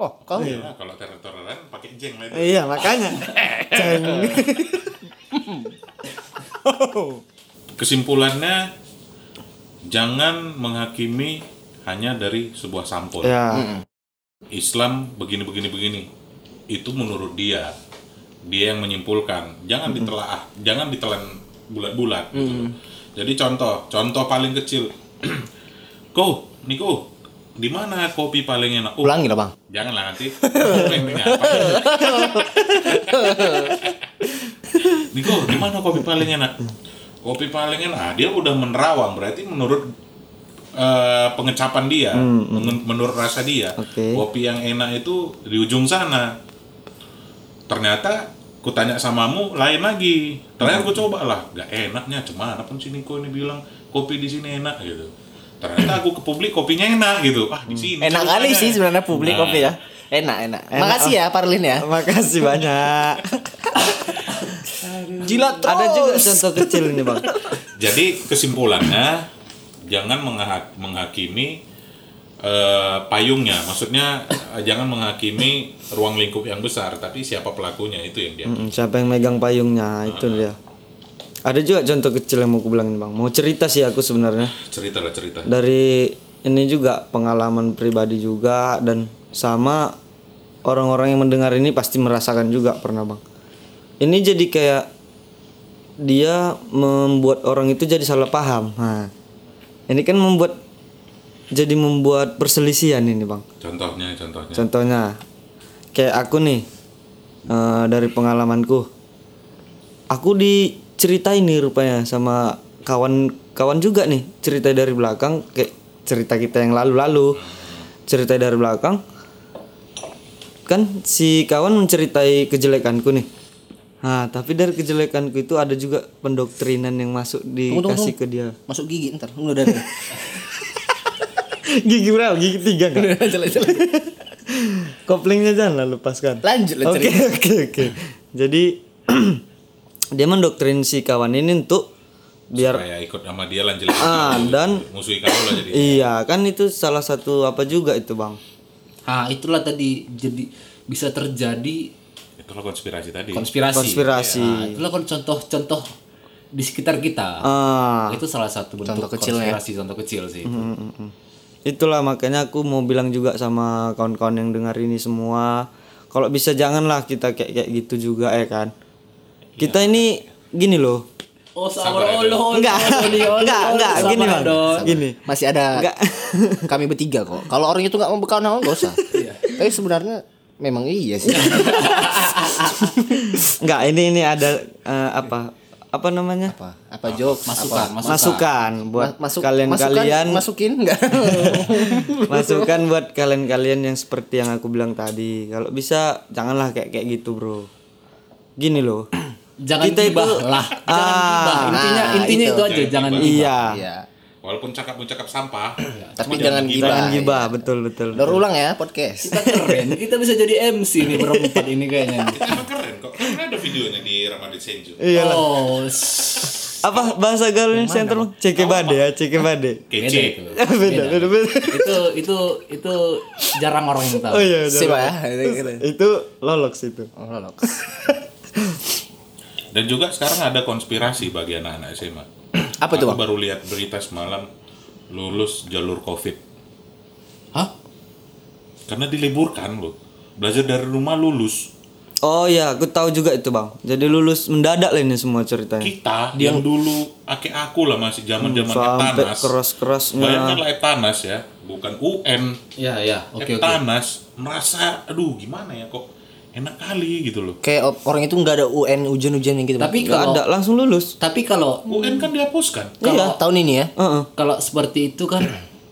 Speaker 5: Oh, kau.
Speaker 2: Nah, kalau teror-teroran pakai jeng lagi.
Speaker 6: iya makanya Ceng.
Speaker 2: Kesimpulannya jangan menghakimi hanya dari sebuah sampul.
Speaker 6: ya
Speaker 2: Islam begini begini begini. Itu menurut dia. Dia yang menyimpulkan. Jangan ditelaah, jangan ditelan bulat-bulat gitu loh. Jadi contoh, contoh paling kecil. Ko, Niko, di mana kopi paling enak? Oh,
Speaker 5: Ulangi lah, Bang.
Speaker 2: Janganlah nanti. Pengennya apa? Niko, di mana kopi paling enak? Kopi paling enak. Ah, dia udah menerawang berarti menurut eh, pengecapan dia, men- menurut rasa dia,
Speaker 6: Oke.
Speaker 2: kopi yang enak itu di ujung sana. Ternyata kutanya samamu lain lagi. Ternyata aku coba lah, gak enaknya cuma pun si Niko ini bilang kopi di sini enak gitu. Ternyata aku ke publik kopinya enak gitu. Ah, di sini.
Speaker 5: Enak kali
Speaker 2: ceritanya.
Speaker 5: sih sebenarnya publik
Speaker 2: Nah,
Speaker 5: kopi ya. Enak, enak.
Speaker 6: Enak.
Speaker 5: Makasih ya Parlin ya.
Speaker 6: makasih banyak
Speaker 5: Jilat terus.
Speaker 6: ada juga contoh kecil ini bang
Speaker 2: Jadi kesimpulannya jangan mengha- menghakimi eh, payungnya, maksudnya eh, jangan menghakimi ruang lingkup yang besar, tapi siapa pelakunya itu yang dia.
Speaker 6: Mm, siapa yang megang payungnya itu dia ada juga contoh kecil yang mau aku bilang nih bang mau cerita sih aku sebenarnya
Speaker 2: Cerita lah cerita.
Speaker 6: dari ini juga pengalaman pribadi juga dan sama orang-orang yang mendengar ini pasti merasakan juga pernah bang ini jadi kayak dia membuat orang itu jadi salah paham nah, ini kan membuat jadi membuat perselisihan ini bang
Speaker 2: Contohnya, contohnya.
Speaker 6: Contohnya kayak aku nih eh, dari pengalamanku. Aku diceritain nih rupanya sama kawan-kawan juga nih, cerita dari belakang kayak cerita kita yang lalu-lalu. Cerita dari belakang kan si kawan menceritai kejelekanku nih. Nah, tapi dari kejelekanku itu ada juga pendoktrinan yang masuk dikasih ke dia.
Speaker 5: Masuk gigi ntar. Lu udah. udah.
Speaker 6: Gigi berapa? Gigi tiga kan?
Speaker 5: Jelas-jelas.
Speaker 6: Koplingnya janganlah lepaskan.
Speaker 5: Lanjut lah
Speaker 6: Oke oke oke. Jadi dia mendoktrin si kawan ini untuk biar
Speaker 2: Supaya ikut sama dia lah jelek.
Speaker 6: Ah, dan-
Speaker 2: musuhi kamu lah jadi.
Speaker 6: iya kan itu salah satu apa juga itu bang.
Speaker 1: Ah, itulah tadi jadi bisa terjadi
Speaker 2: Itulah konspirasi tadi.
Speaker 1: konspirasi.
Speaker 6: Konspirasi.
Speaker 1: Nah, itulah kon- contoh-contoh di sekitar kita.
Speaker 6: Ah
Speaker 1: Itu salah satu bentuk
Speaker 5: Contoh Mm-hmm. kecil ya.
Speaker 1: konspirasi, contoh kecil sih. itu.
Speaker 6: itulah makanya aku mau bilang juga sama kawan-kawan yang dengar ini semua kalau bisa janganlah kita kayak kayak gitu juga ya kan. Kita ini gini loh.
Speaker 1: Oh, sabar Allah.
Speaker 6: Enggak, enggak, enggak, gini bang, gini.
Speaker 5: Masih ada
Speaker 6: Oh, Enggak.
Speaker 5: kami bertiga kok. Kalau orang itu nggak mau bekal nama nggak usah. Tapi sebenarnya memang iya sih.
Speaker 6: Enggak, ini ini ada eh, apa? Apa namanya?
Speaker 5: apa? Apa joke?
Speaker 1: Masukan,
Speaker 5: Apa?
Speaker 1: masukan.
Speaker 6: masukan buat
Speaker 5: Ma- masuk-
Speaker 6: kalian-kalian
Speaker 5: masukan- masukin enggak?
Speaker 6: masukan buat kalian-kalian yang seperti yang aku bilang tadi kalau bisa janganlah kayak kayak gitu bro gini loh
Speaker 1: Jangan
Speaker 6: Kita itu-
Speaker 1: gibah lah. Jangan
Speaker 6: Ah,
Speaker 1: gibah. Intinya
Speaker 5: nah,
Speaker 1: intinya
Speaker 5: itu.
Speaker 1: itu aja, jangan gibah.
Speaker 6: iya
Speaker 5: Iya.
Speaker 2: walaupun cakap-cakap sampah
Speaker 5: Tapi jangan gila.
Speaker 6: Jangan gitu. gibah, betul betul.
Speaker 5: Daur ulang ya podcast.
Speaker 1: Kita keren, kita bisa jadi MC nih berempat ini kayaknya.
Speaker 2: kita gitu. emang keren kok karena ada videonya di Ramadhan Senju
Speaker 1: Oh,
Speaker 6: Apa bahasa gaulnya center Bang? Cekebade ya, cekebade.
Speaker 1: beda
Speaker 2: kece
Speaker 1: itu.
Speaker 6: Beda, beda, beda.
Speaker 1: itu itu itu jarang orang yang tahu.
Speaker 6: Oh iya, udah.
Speaker 5: Sip ya. Oh, Itu- itu.
Speaker 6: Itu lolok itu.
Speaker 2: dan juga sekarang ada konspirasi bagi anak-anak SMA
Speaker 5: Apa tuh,
Speaker 2: Aku
Speaker 5: Bang?
Speaker 2: baru lihat berita semalam lulus jalur covid
Speaker 1: Hah?
Speaker 2: karena diliburkan loh belajar dari rumah lulus
Speaker 6: Oh iya, aku tahu juga itu, Bang. Jadi lulus mendadak lah ini semua ceritanya.
Speaker 2: kita yang dulu ake aku lah masih zaman zaman
Speaker 6: Hmm, Sampai
Speaker 2: etanas
Speaker 6: keras-kerasnya.
Speaker 2: bayangkanlah etanas ya bukan UN
Speaker 1: Ya ya, oke oke.
Speaker 2: etanas merasa aduh gimana ya kok enak kali gitu loh
Speaker 5: Kayak o- orang itu nggak ada UN ujian-ujian yang gitu. Bang.
Speaker 1: Tapi
Speaker 6: Enggak
Speaker 1: kalau
Speaker 6: ada, langsung lulus.
Speaker 1: tapi kalau
Speaker 2: UN kan dihapuskan
Speaker 6: Iya.
Speaker 5: kalau tahun ini ya.
Speaker 6: Heeh.
Speaker 1: kalau seperti itu kan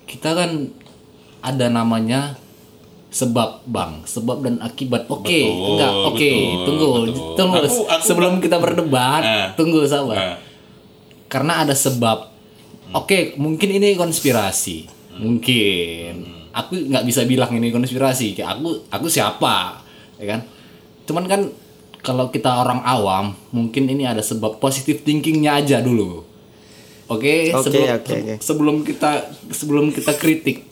Speaker 1: kita kan ada namanya sebab bang sebab dan akibat oke
Speaker 2: Betul,
Speaker 1: enggak oke
Speaker 2: betul,
Speaker 1: tunggu
Speaker 2: betul.
Speaker 1: tunggu
Speaker 2: Aku- aku
Speaker 1: sebelum
Speaker 2: nggak-
Speaker 1: kita berdebat
Speaker 2: Eh.
Speaker 1: tunggu sabar
Speaker 2: nah,
Speaker 1: karena ada sebab oke mungkin ini konspirasi mungkin aku nggak bisa bilang ini konspirasi kayak aku aku siapa ya kan cuman kan kalau kita orang awam mungkin ini ada sebab positive thinkingnya aja dulu oke
Speaker 6: Oke,
Speaker 1: sebelum
Speaker 6: oke, oke.
Speaker 1: sebelum kita sebelum kita kritik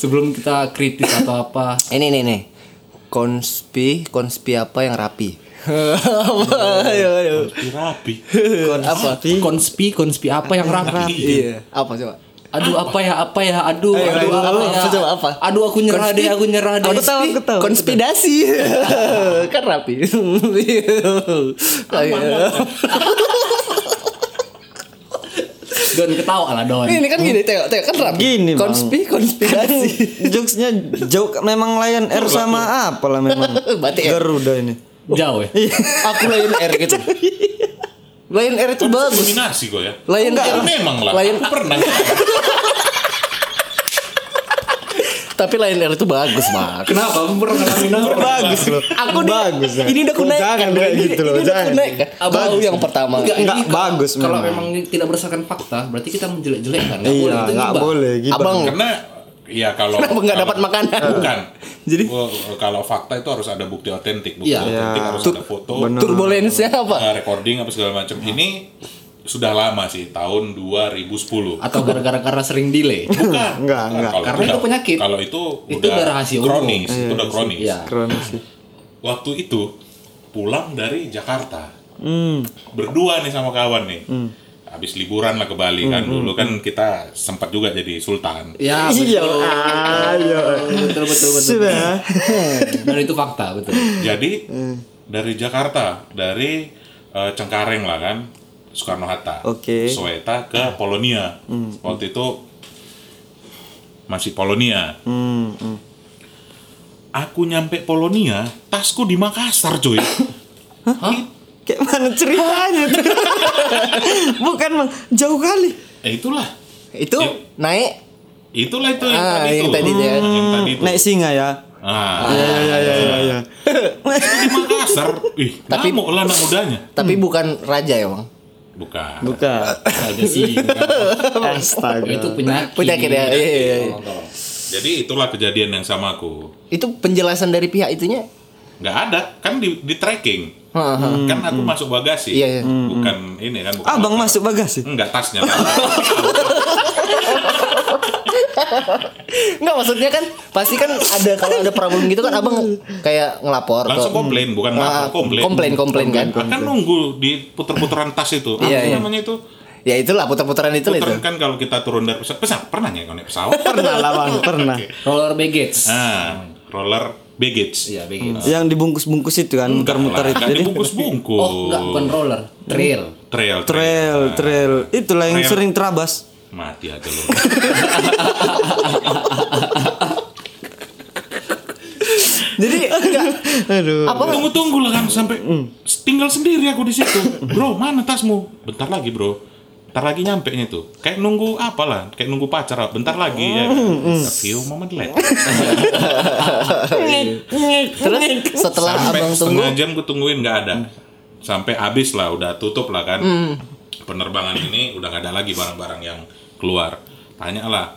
Speaker 1: sebelum kita kritik atau apa
Speaker 5: Ini nih nih. Konspi, konspi apa yang rapi? Apa? Ayo,
Speaker 6: Iya,
Speaker 5: ayo.
Speaker 2: rapi
Speaker 6: Konspirasi.
Speaker 1: konspi konspi apa yang rapi
Speaker 5: Iya. Apa coba?
Speaker 1: Aduh apa ya apa ya aduh
Speaker 5: Ayo,
Speaker 1: aduh
Speaker 5: ayo,
Speaker 1: apa
Speaker 5: apa,
Speaker 1: ya
Speaker 5: coba apa?
Speaker 1: aduh aku nyerah deh aku nyerah deh
Speaker 6: Aku tahu, aku tahu.
Speaker 5: Konspirasi. Iya. kan rapi.
Speaker 1: Don ketawa lah Don
Speaker 5: ini kan gini, tengok, tengok kan rapi.
Speaker 6: Gini, Bang.
Speaker 5: konspi, konspirasi.
Speaker 6: Jokesnya jauh memang Lion Air sama apa lah memang
Speaker 5: Batik ya?
Speaker 6: Garuda ini.
Speaker 1: jauh ya
Speaker 5: Iya, Aku Lion Air gitu. Lion Air itu bagus. iya,
Speaker 2: dominasi kok ya
Speaker 5: Lion
Speaker 2: Ya,
Speaker 5: Air.
Speaker 2: memang lah
Speaker 5: Lion,
Speaker 2: aku pernah
Speaker 5: tapi Lion Air itu bagus, Bang.
Speaker 1: kenapa aku pernah ngalamin apa
Speaker 6: Bagus loh.
Speaker 5: Aku nih,
Speaker 6: bagus. ya.
Speaker 5: ini udah aku
Speaker 6: Oh,
Speaker 5: naikkan,
Speaker 6: Jangan
Speaker 5: Bang.
Speaker 6: kayak
Speaker 5: Ini-
Speaker 6: gitu
Speaker 5: ini
Speaker 6: loh,
Speaker 5: udah aku
Speaker 6: jangan.
Speaker 5: naikkan. Abang yang pertama.
Speaker 1: ini
Speaker 6: Enggak,
Speaker 1: kalau-
Speaker 6: bagus
Speaker 1: kalau memang
Speaker 6: memang.
Speaker 1: ini tidak berdasarkan fakta berarti kita menjelek-jelekkan nggak boleh
Speaker 6: Iya,
Speaker 1: itu
Speaker 6: nggak
Speaker 1: gibah.
Speaker 6: boleh gitu.
Speaker 5: Abang
Speaker 2: karena ya kalau
Speaker 5: Kenapa nggak
Speaker 2: kalau-
Speaker 5: dapat makanan?
Speaker 2: bukan
Speaker 5: Jadi-
Speaker 2: Well, kalau fakta itu harus ada bukti otentik bukti
Speaker 1: Iya.
Speaker 2: otentik
Speaker 6: Iya.
Speaker 2: harus
Speaker 5: Tuh,
Speaker 2: ada foto
Speaker 6: bener.
Speaker 5: turbulensnya apa?
Speaker 2: eh, recording apa segala macam
Speaker 1: Nah.
Speaker 2: ini sudah lama sih tahun 2010
Speaker 1: atau gara-gara karena sering delay
Speaker 2: bukan
Speaker 6: Enggak, enggak.
Speaker 2: Kalau
Speaker 1: Ah, Karena itu
Speaker 2: udah-
Speaker 1: penyakit.
Speaker 2: kalau itu
Speaker 1: Itu
Speaker 2: udah
Speaker 1: udah rahasia umum.
Speaker 2: kronis itu udah kronis
Speaker 1: Iya.
Speaker 6: Kronis sih.
Speaker 2: waktu itu pulang dari Jakarta
Speaker 6: Hmm.
Speaker 2: berdua nih sama kawan nih habis liburan lah ke Bali
Speaker 6: Hmm,
Speaker 2: kan dulu kan kita sempat juga jadi sultan
Speaker 1: ya
Speaker 6: Iya,
Speaker 1: betul
Speaker 6: ayo.
Speaker 1: betul betul betul
Speaker 6: Sudah.
Speaker 1: dan itu fakta betul
Speaker 2: Jadi
Speaker 6: Hmm.
Speaker 2: dari Jakarta, dari eh, Cengkareng lah kan, Soekarno Hatta,
Speaker 6: Oke. Hmm.
Speaker 2: Soeta ke Polonia. Waktu itu masih Polonia.
Speaker 6: Hmm, hmm.
Speaker 2: Aku nyampe Polonia, tasku di Makassar coy.
Speaker 6: Kayak mana ceritanya tuh? Bukan bang, jauh kali.
Speaker 2: Eh, itulah,
Speaker 5: Itu
Speaker 2: Yuk.
Speaker 5: naik
Speaker 2: itulah itu yang tadi
Speaker 5: Ah, yang
Speaker 2: itu.
Speaker 5: tadi itu ya.
Speaker 2: Yang tadi itu.
Speaker 6: Naik singa ya.
Speaker 2: Ah,
Speaker 6: Ya ya ya ya ya.
Speaker 2: di Makassar, ih, tapi
Speaker 5: Tapi-
Speaker 2: lah anak mudanya.
Speaker 5: tapi
Speaker 6: Hmm.
Speaker 5: bukan raja ya, Bang.
Speaker 2: Bukan.
Speaker 6: Buka.
Speaker 1: ada sih itu
Speaker 6: Astaga.
Speaker 1: penyakit
Speaker 5: Penyakit ya, iya, iya, iya.
Speaker 1: Tolong, tolong.
Speaker 2: Jadi itulah kejadian yang sama aku.
Speaker 5: Itu penjelasan dari pihak itunya.
Speaker 2: Nggak ada, kan di, di tracking.
Speaker 5: Ha, ha.
Speaker 2: kan aku masuk bagasi
Speaker 5: Hmm. Iya, iya.
Speaker 2: bukan ini kan bukan motor.
Speaker 6: Abang Hmm. Ah, masuk bagasi.
Speaker 2: enggak tasnya
Speaker 5: Enggak maksudnya kan pasti kan ada kalau ada problem gitu kan abang kayak ngelapor ke-
Speaker 2: langsung komplain bukan lapor,
Speaker 5: Ah,
Speaker 2: komplain
Speaker 5: komplain komplain kan
Speaker 2: akan nunggu di puter-puteran tas itu apa
Speaker 5: Iya, iya.
Speaker 2: namanya itu
Speaker 5: ya itulah putar-putaran itu lah itu
Speaker 2: puter kan kalau kita turun dari pesawat pesawat pernah nggak naik pesawat
Speaker 6: Pernah lah bang, pernah.
Speaker 1: roller baggage
Speaker 2: ah roller baggage
Speaker 1: iya baggage
Speaker 6: Yang dibungkus-bungkus itu kan, muter-muter itu.
Speaker 2: kan
Speaker 6: Jadi
Speaker 2: dibungkus-bungkus
Speaker 1: oh enggak bukan roller trail
Speaker 2: trail
Speaker 6: trail, trail. Itulah yang
Speaker 2: Trail.
Speaker 6: sering terabas.
Speaker 2: mati aja lo
Speaker 5: jadi enggak
Speaker 6: Aduh.
Speaker 5: apa
Speaker 2: tunggu-tunggu lah kan sampai
Speaker 6: Hmm.
Speaker 2: tinggal sendiri aku di situ bro mana tasmu bentar lagi bro bentar lagi nyampe nya tuh kayak nunggu apalah kayak nunggu pacar lah. bentar lagi ya
Speaker 6: Hmm,
Speaker 2: a few moment late
Speaker 5: terus setelah
Speaker 2: sampai
Speaker 5: abang tunggu
Speaker 2: setengah jam gue tungguin nggak ada
Speaker 6: Hmm.
Speaker 2: sampai habis lah udah tutup lah kan penerbangan ini udah nggak ada lagi barang-barang yang keluar tanyalah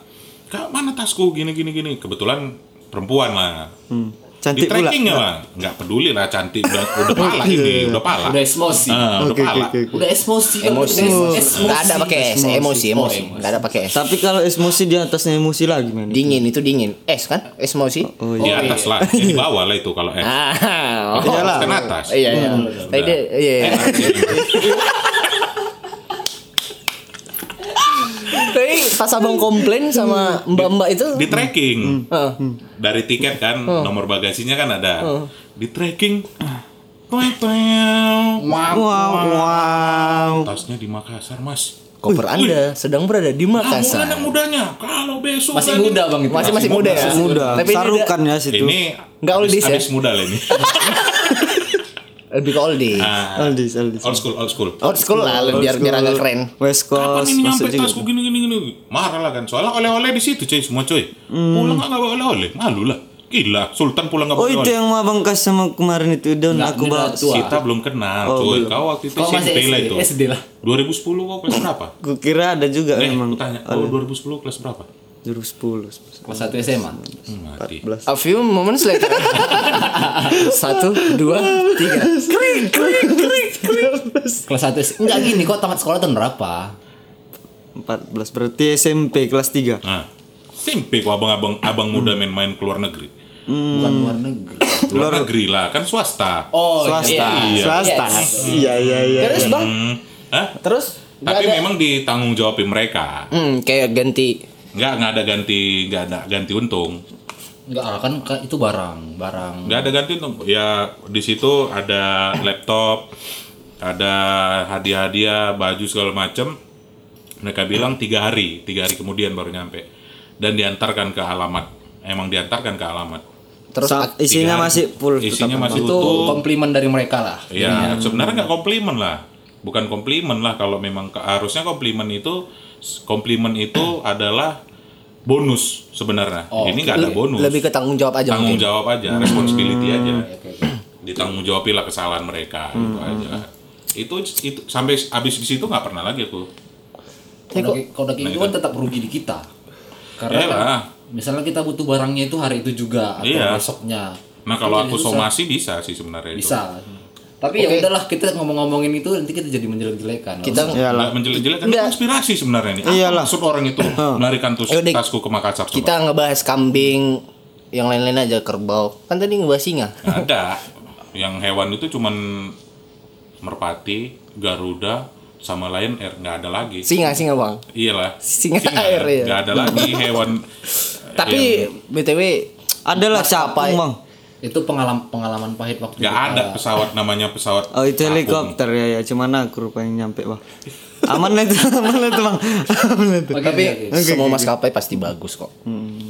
Speaker 2: kak mana tasku gini gini gini kebetulan perempuan lah
Speaker 6: Hmm.
Speaker 2: di
Speaker 6: Cantik pula. Oh, iya,
Speaker 2: tracking ya, nggak lah nggak peduli lah cantik udah udah pala ini udah pala
Speaker 1: Udah esmosi.
Speaker 2: Ah, udah
Speaker 6: Oke, oke,
Speaker 2: pala
Speaker 6: oke, oke.
Speaker 1: Udah esmosi. kan?
Speaker 5: emosi
Speaker 1: Udah es-
Speaker 5: nggak ada pakai es emosi emosi
Speaker 1: Oh,
Speaker 5: nggak ada pakai es
Speaker 6: Tapi kalau emosi di atasnya emosi lagi men.
Speaker 5: dingin itu dingin es kan emosi
Speaker 6: Oh
Speaker 2: di
Speaker 6: iya.
Speaker 2: atas lah Ya, di bawah lah itu kalau eh
Speaker 5: ah oh.
Speaker 2: Iyalah. Kan atas.
Speaker 5: iya iya Tadi dia- iya iya. tapi pas abang komplain sama mbak mbak itu oh,
Speaker 2: di
Speaker 6: Hmm,
Speaker 2: Hmm. tracking
Speaker 5: Heeh.
Speaker 2: dari tiket kan
Speaker 6: Oh.
Speaker 2: nomor bagasinya kan ada di tracking toeng, toeng.
Speaker 6: Wow wow.
Speaker 2: tasnya di Makassar mas
Speaker 5: koper anda sedang berada di
Speaker 2: Kamu kan anak
Speaker 5: Makassar
Speaker 2: mudanya kalau besok
Speaker 1: Masih
Speaker 2: lagi-
Speaker 1: muda bang itu.
Speaker 5: masih masih muda ya
Speaker 6: Muda.
Speaker 5: tapi ini udah
Speaker 6: Sarukan ya situ.
Speaker 2: ini
Speaker 5: Nggak
Speaker 2: habis-
Speaker 5: oldies ya?
Speaker 2: habis muda lah ini
Speaker 5: lebih ke oldies
Speaker 2: Ah,
Speaker 6: Aldis Aldis.
Speaker 2: old school old school
Speaker 5: old school lah biar biar agak keren
Speaker 6: West
Speaker 2: Kapan
Speaker 6: Coast.
Speaker 2: ini nyampe
Speaker 6: Oh, masuk juga.
Speaker 2: tasku gini gini gini marah lah kan soalnya oleh-oleh di situ cuy semua cuy pulang nggak bawa oleh-oleh malu lah gila Sultan pulang nggak
Speaker 6: Hmm. Oh
Speaker 2: bawa
Speaker 6: itu
Speaker 2: oleh-oleh
Speaker 6: yang mau abang kasih sama kemarin itu daun
Speaker 1: Nggak,
Speaker 6: aku
Speaker 1: ini
Speaker 6: bawa
Speaker 1: daun tua.
Speaker 2: kita Oh, belum kenal cuy kau waktu itu
Speaker 1: Kau masih
Speaker 2: SMP lah
Speaker 1: SD,
Speaker 2: itu
Speaker 1: SD lah.
Speaker 2: 2010 kau kelas berapa
Speaker 6: Aku kira ada juga
Speaker 2: eh
Speaker 6: memang
Speaker 2: aku tanya kau 2010 kelas berapa
Speaker 6: jurus 10.
Speaker 1: Kelas satu SMA.
Speaker 2: Hmm, mati
Speaker 5: a few moments later satu dua tiga
Speaker 1: Kelas satu S- Enggak gini kok tamat sekolah tahun berapa?
Speaker 6: 14 berarti SMP kelas 3.
Speaker 2: nah SMP kau abang-abang abang muda main-main keluar negeri Hmm.
Speaker 1: Bukan luar negeri.
Speaker 2: luar negeri lah kan swasta
Speaker 1: Oh,
Speaker 6: Swasta.
Speaker 2: iya.
Speaker 6: Swasta. Iya iya iya.
Speaker 5: terus bang
Speaker 2: Hmm. Hah?
Speaker 5: terus nggak
Speaker 2: tapi
Speaker 5: ada-
Speaker 2: memang ditanggung jawabin mereka
Speaker 5: hmm, kayak ganti
Speaker 2: nggak nggak ada ganti nggak ada ganti untung
Speaker 1: Enggak ah, kan kan itu barang, barang.
Speaker 2: nggak ada ganti untung ya di situ ada laptop ada hadiah-hadiah baju segala macem mereka bilang tiga hari tiga hari kemudian baru nyampe dan diantarkan ke alamat emang diantarkan ke alamat
Speaker 6: Terus
Speaker 2: Tiga
Speaker 6: isinya
Speaker 2: hari.
Speaker 6: masih full.
Speaker 2: isinya masih
Speaker 1: Itu
Speaker 2: utuh
Speaker 1: komplimen dari mereka lah.
Speaker 2: ya sebenarnya nggak komplimen lah bukan komplimen lah kalau memang ke- harusnya komplimen itu komplimen itu adalah bonus sebenarnya ini nggak ada bonus
Speaker 5: Oh, lebih ke tanggung jawab aja
Speaker 2: tanggung
Speaker 5: Ya, mungkin Hmm.
Speaker 2: jawab aja, responsibility aja. Ditanggung jawabin lah kesalahan mereka
Speaker 5: Hmm,
Speaker 2: gitu aja. Itu itu sampai habis di situ nggak pernah lagi aku.
Speaker 1: Kalau udah kayak- kalau udah kayak gitu kan tetap rugi di kita. Karena
Speaker 2: Nah, Iya
Speaker 1: kan,
Speaker 2: lah.
Speaker 1: misalnya kita butuh barangnya itu hari itu juga atau
Speaker 2: Iya.
Speaker 1: besoknya.
Speaker 2: Nah, kalau
Speaker 5: Iya,
Speaker 1: Jadi
Speaker 2: aku
Speaker 1: susah.
Speaker 2: somasi bisa sih sebenarnya itu.
Speaker 1: bisa. Gitu. Tapi ya udahlah kita ngomong-ngomongin itu nanti kita jadi menjelek-jelekan. Nggak
Speaker 5: kita
Speaker 1: usah.
Speaker 2: Nggak menjelek-jelekan itu konspirasi sebenarnya ini. Apa
Speaker 6: Iyalah.
Speaker 2: maksud orang itu melarikan tus-
Speaker 5: Iya Ayo, Dik.
Speaker 2: tasku ke Makassar coba?
Speaker 5: kita ngebahas kambing yang lain-lain aja kerbau kan tadi ngebahas singa
Speaker 2: Nggak ada. Yang hewan itu cuman merpati, garuda, sama Lion Air nggak ada lagi.
Speaker 5: singa singa bang
Speaker 2: Iyalah.
Speaker 5: Singa air, iya.
Speaker 2: Nggak ada lagi hewan. Iya.
Speaker 5: tapi btw
Speaker 6: Adalah capung
Speaker 5: Maskapai.
Speaker 6: bang.
Speaker 1: Itu pengalaman pengalaman pahit waktu
Speaker 2: Nggak
Speaker 1: kita.
Speaker 2: ada pesawat namanya pesawat.
Speaker 6: eh, Oh itu
Speaker 2: tabung.
Speaker 6: helikopter ya ya. Cuman aku rupanya nyampe bang. Aman lah itu, aman lah itu bang. Aman lah itu.
Speaker 1: Tapi
Speaker 5: semua maskapai pasti bagus kok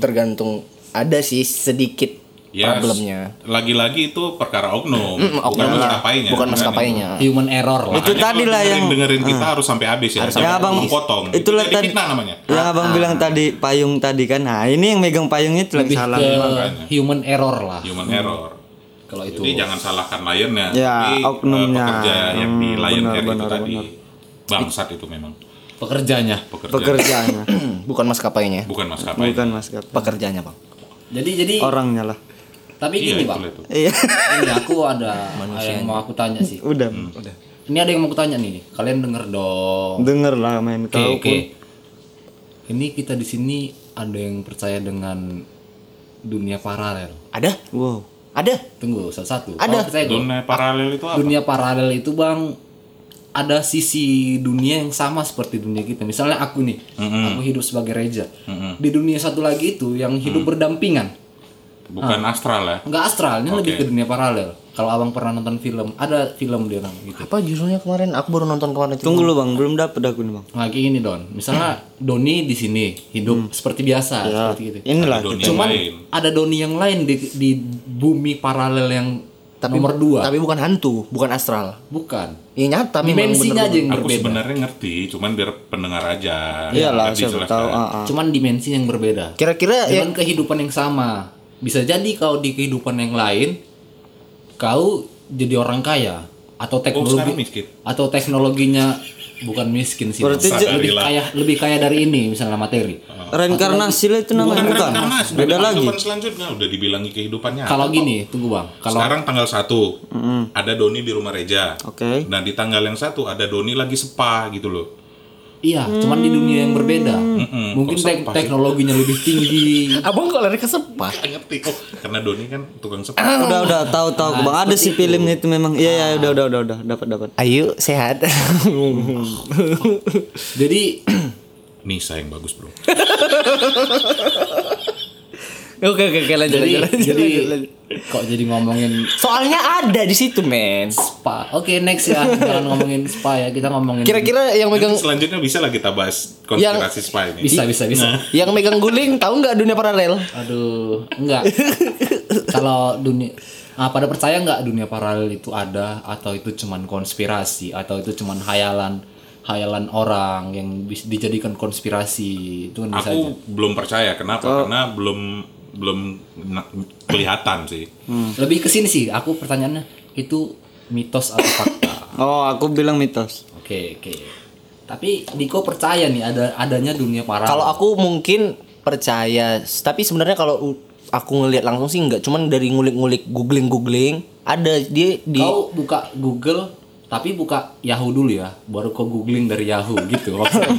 Speaker 5: tergantung ada sih sedikit
Speaker 2: Ya,
Speaker 5: problemnya
Speaker 2: Lagi-lagi itu perkara oknum, bukan
Speaker 6: Mm, iya.
Speaker 5: oknumnya,
Speaker 2: maskapainya.
Speaker 5: bukan maskapainya
Speaker 1: human error lah.
Speaker 6: Itu tadi lah yang-
Speaker 2: dengerin
Speaker 6: Mm.
Speaker 2: kita harus sampai habis ya.
Speaker 6: Ya,
Speaker 2: Jangan
Speaker 6: Abang.
Speaker 2: potong. Itu
Speaker 6: Itulah
Speaker 2: jadi
Speaker 6: tadi-
Speaker 2: fitnah namanya.
Speaker 6: Yang abang bilang tadi payung tadi kan. Nah ini yang megang payungnya itu yang
Speaker 1: Lebih
Speaker 6: salah.
Speaker 1: ke
Speaker 6: memang.
Speaker 1: human error lah.
Speaker 2: Human error.
Speaker 1: Kalau itu
Speaker 2: Iya. Jadi jangan salahkan lionnya,
Speaker 6: Mm. Ya,
Speaker 2: tapi eh,
Speaker 6: oknumnya.
Speaker 2: pekerja yang di
Speaker 6: Hmm,
Speaker 2: lion
Speaker 6: benar,
Speaker 2: air itu
Speaker 6: benar,
Speaker 2: tadi bangsat itu memang
Speaker 1: pekerjanya.
Speaker 2: pekerja.
Speaker 6: Pekerjaannya.
Speaker 5: Hmm, bukan maskapainya
Speaker 2: Bukan maskapai.
Speaker 6: Bukan maskapai.
Speaker 5: pekerjanya bang
Speaker 1: Jadi jadi
Speaker 6: Orangnya lah.
Speaker 1: tapi
Speaker 2: Iya,
Speaker 1: gini,
Speaker 2: itu
Speaker 1: Bang.
Speaker 2: lah itu.
Speaker 6: Oh. Iya.
Speaker 1: Ini aku ada yang mau aku tanya sih.
Speaker 6: Hmm, Udah.
Speaker 1: Ini ada yang mau aku tanya nih. Kalian denger dong.
Speaker 6: Denger lah
Speaker 1: Oke,
Speaker 6: main kau
Speaker 1: oke. Ini kita di sini ada yang percaya dengan dunia paralel.
Speaker 5: ada
Speaker 6: pun. Wow.
Speaker 5: ada
Speaker 1: Tunggu satu-satu.
Speaker 5: Ada.
Speaker 1: Kamu percaya nggak?
Speaker 2: Dunia paralel itu apa?
Speaker 6: Ah.
Speaker 1: Dunia paralel itu bang ada sisi dunia yang sama seperti dunia kita. Misalnya aku nih, aku hidup sebagai reja. Di dunia satu lagi itu yang
Speaker 2: Mm.
Speaker 1: hidup berdampingan.
Speaker 2: Bukan astral ya.
Speaker 1: Enggak astral, ini lebih ke dunia paralel. Kalau abang pernah nonton film, ada film dia namanya gitu.
Speaker 5: apa judulnya kemarin aku baru nonton kemarin itu
Speaker 6: Tunggu lu bang, belum dapet aku nih bang.
Speaker 1: Nah, kayak gini Don. Misalnya Doni di sini hidup seperti biasa, seperti gitu.
Speaker 6: Inilah.
Speaker 2: Dunia
Speaker 6: kita.
Speaker 1: Cuman
Speaker 2: Mm. Ya. lain.
Speaker 1: ada Doni yang lain di, di bumi paralel yang nomor dua.
Speaker 5: tapi bukan hantu bukan astral
Speaker 1: Bukan.
Speaker 5: ya nyata memang
Speaker 1: Dimensinya aja yang
Speaker 2: Aku
Speaker 1: berbeda.
Speaker 2: sebenarnya ngerti, cuman biar pendengar aja.
Speaker 6: Iyalah,
Speaker 2: Ngerti kan.
Speaker 6: siapa
Speaker 2: jelaskan.
Speaker 6: tahu. ah, ah.
Speaker 1: Cuman dimensi yang berbeda.
Speaker 5: kira-kira ya
Speaker 1: Dengan kehidupan yang sama. Bisa jadi kau di kehidupan yang lain kau jadi orang kaya
Speaker 2: Oh,
Speaker 1: atau
Speaker 2: sekarang
Speaker 1: teknologi
Speaker 2: miskin.
Speaker 1: atau teknologinya bukan miskin sih
Speaker 6: Berarti
Speaker 1: Bang.
Speaker 6: je-
Speaker 1: lebih kaya lebih kaya dari ini misalnya materi
Speaker 2: Ah.
Speaker 6: Reinkarnasi lah itu namanya bukan.
Speaker 2: Mas, udah
Speaker 6: Beda
Speaker 2: di
Speaker 6: lagi.
Speaker 2: kehidupan selanjutnya udah dibilangi kehidupannya.
Speaker 1: kalau gini tunggu bang kalau
Speaker 2: Sekarang tanggal 1 ada Doni di rumah Reja.
Speaker 6: Oke.
Speaker 2: Nah, di tanggal yang satu ada Doni lagi spa gitu loh.
Speaker 1: iya cuman di dunia yang berbeda mungkin
Speaker 2: Kok
Speaker 1: tek-
Speaker 2: sampah sih?
Speaker 1: teknologinya lebih tinggi
Speaker 5: Abang kok lari ke sepa?
Speaker 2: Nggak ngerti. Oh, karena Doni kan tukang spa.
Speaker 1: Ah.
Speaker 6: Udah udah tahu tahu Bang. Ada sih filmnya itu memang. Iya ya udah udah udah udah dapat dapat.
Speaker 5: Ayo sehat.
Speaker 1: jadi
Speaker 2: Nisa yang bagus, Bro.
Speaker 5: Oke oke oke lanjut
Speaker 1: jadi
Speaker 5: lanjut, lanjut,
Speaker 1: jadi
Speaker 5: lanjut, lanjut.
Speaker 1: kok jadi ngomongin
Speaker 5: Soalnya ada di situ men.
Speaker 1: spa oke next ya jangan ngomongin spa ya kita ngomongin
Speaker 5: Kira-kira yang megang
Speaker 2: Selanjutnya bisa lah kita bahas konspirasi spa ini.
Speaker 1: Ya, bisa bisa bisa
Speaker 2: Nah.
Speaker 5: yang megang guling tahu nggak dunia paralel?
Speaker 1: Aduh, enggak. Kalau dunia ah, pada percaya nggak dunia paralel itu ada atau itu cuman konspirasi atau itu cuman hayalan hayalan orang yang bis- dijadikan konspirasi itu kan bisa
Speaker 2: Aku
Speaker 1: aja.
Speaker 2: belum percaya kenapa?
Speaker 6: Oh.
Speaker 2: Karena belum belum na- kelihatan sih.
Speaker 5: hmm.
Speaker 1: Lebih ke sini sih aku pertanyaannya itu mitos atau fakta.
Speaker 6: Oh, aku bilang mitos.
Speaker 1: Oke, oke. Tapi Diko percaya nih ada adanya dunia paralel.
Speaker 5: Kalau aku mungkin percaya, tapi sebenarnya kalau u- aku ngelihat langsung sih nggak, cuman dari ngulik-ngulik googling-googling ada dia di
Speaker 1: kau buka Google tapi buka Yahoo dulu ya baru kau googling dari Yahoo gitu maksudnya.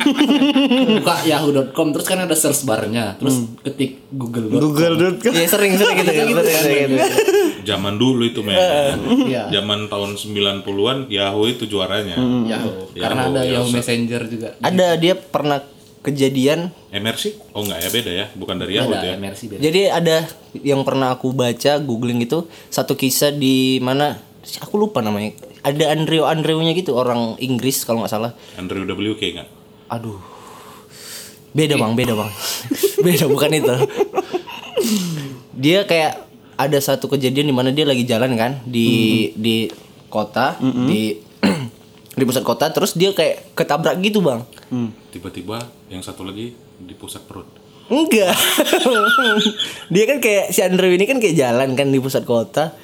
Speaker 1: buka yahoo.com terus kan ada search barnya terus
Speaker 6: Hmm.
Speaker 1: ketik google
Speaker 6: Google.com.
Speaker 5: Iya sering sering gitu, sering, sering gitu.
Speaker 2: Zaman dulu itu men.
Speaker 1: Iya.
Speaker 2: Zaman tahun 90-an Yahoo itu juaranya.
Speaker 6: Hmm.
Speaker 1: Yahoo
Speaker 2: Yahoo,
Speaker 1: karena ada
Speaker 2: Yahoo
Speaker 1: Yahoo Messenger juga
Speaker 5: Ada dia pernah kejadian
Speaker 2: MRC? Oh enggak ya beda ya, bukan dari Yahoo
Speaker 1: ada
Speaker 2: ya.
Speaker 1: MRC beda.
Speaker 5: Iya. Jadi ada yang pernah aku baca googling itu satu kisah di mana aku lupa namanya. Ada Andreo Andreonya gitu orang Inggris kalau nggak salah.
Speaker 2: Andrew WK enggak?
Speaker 5: Aduh. Beda bang, beda bang. beda bukan itu. Dia kayak ada satu kejadian di mana dia lagi jalan kan di di kota di di pusat kota terus dia kayak ketabrak gitu bang.
Speaker 2: Tiba-tiba yang satu lagi di pusat perut.
Speaker 5: Enggak. dia kan kayak si Andrew ini kan kayak jalan kan di pusat kota.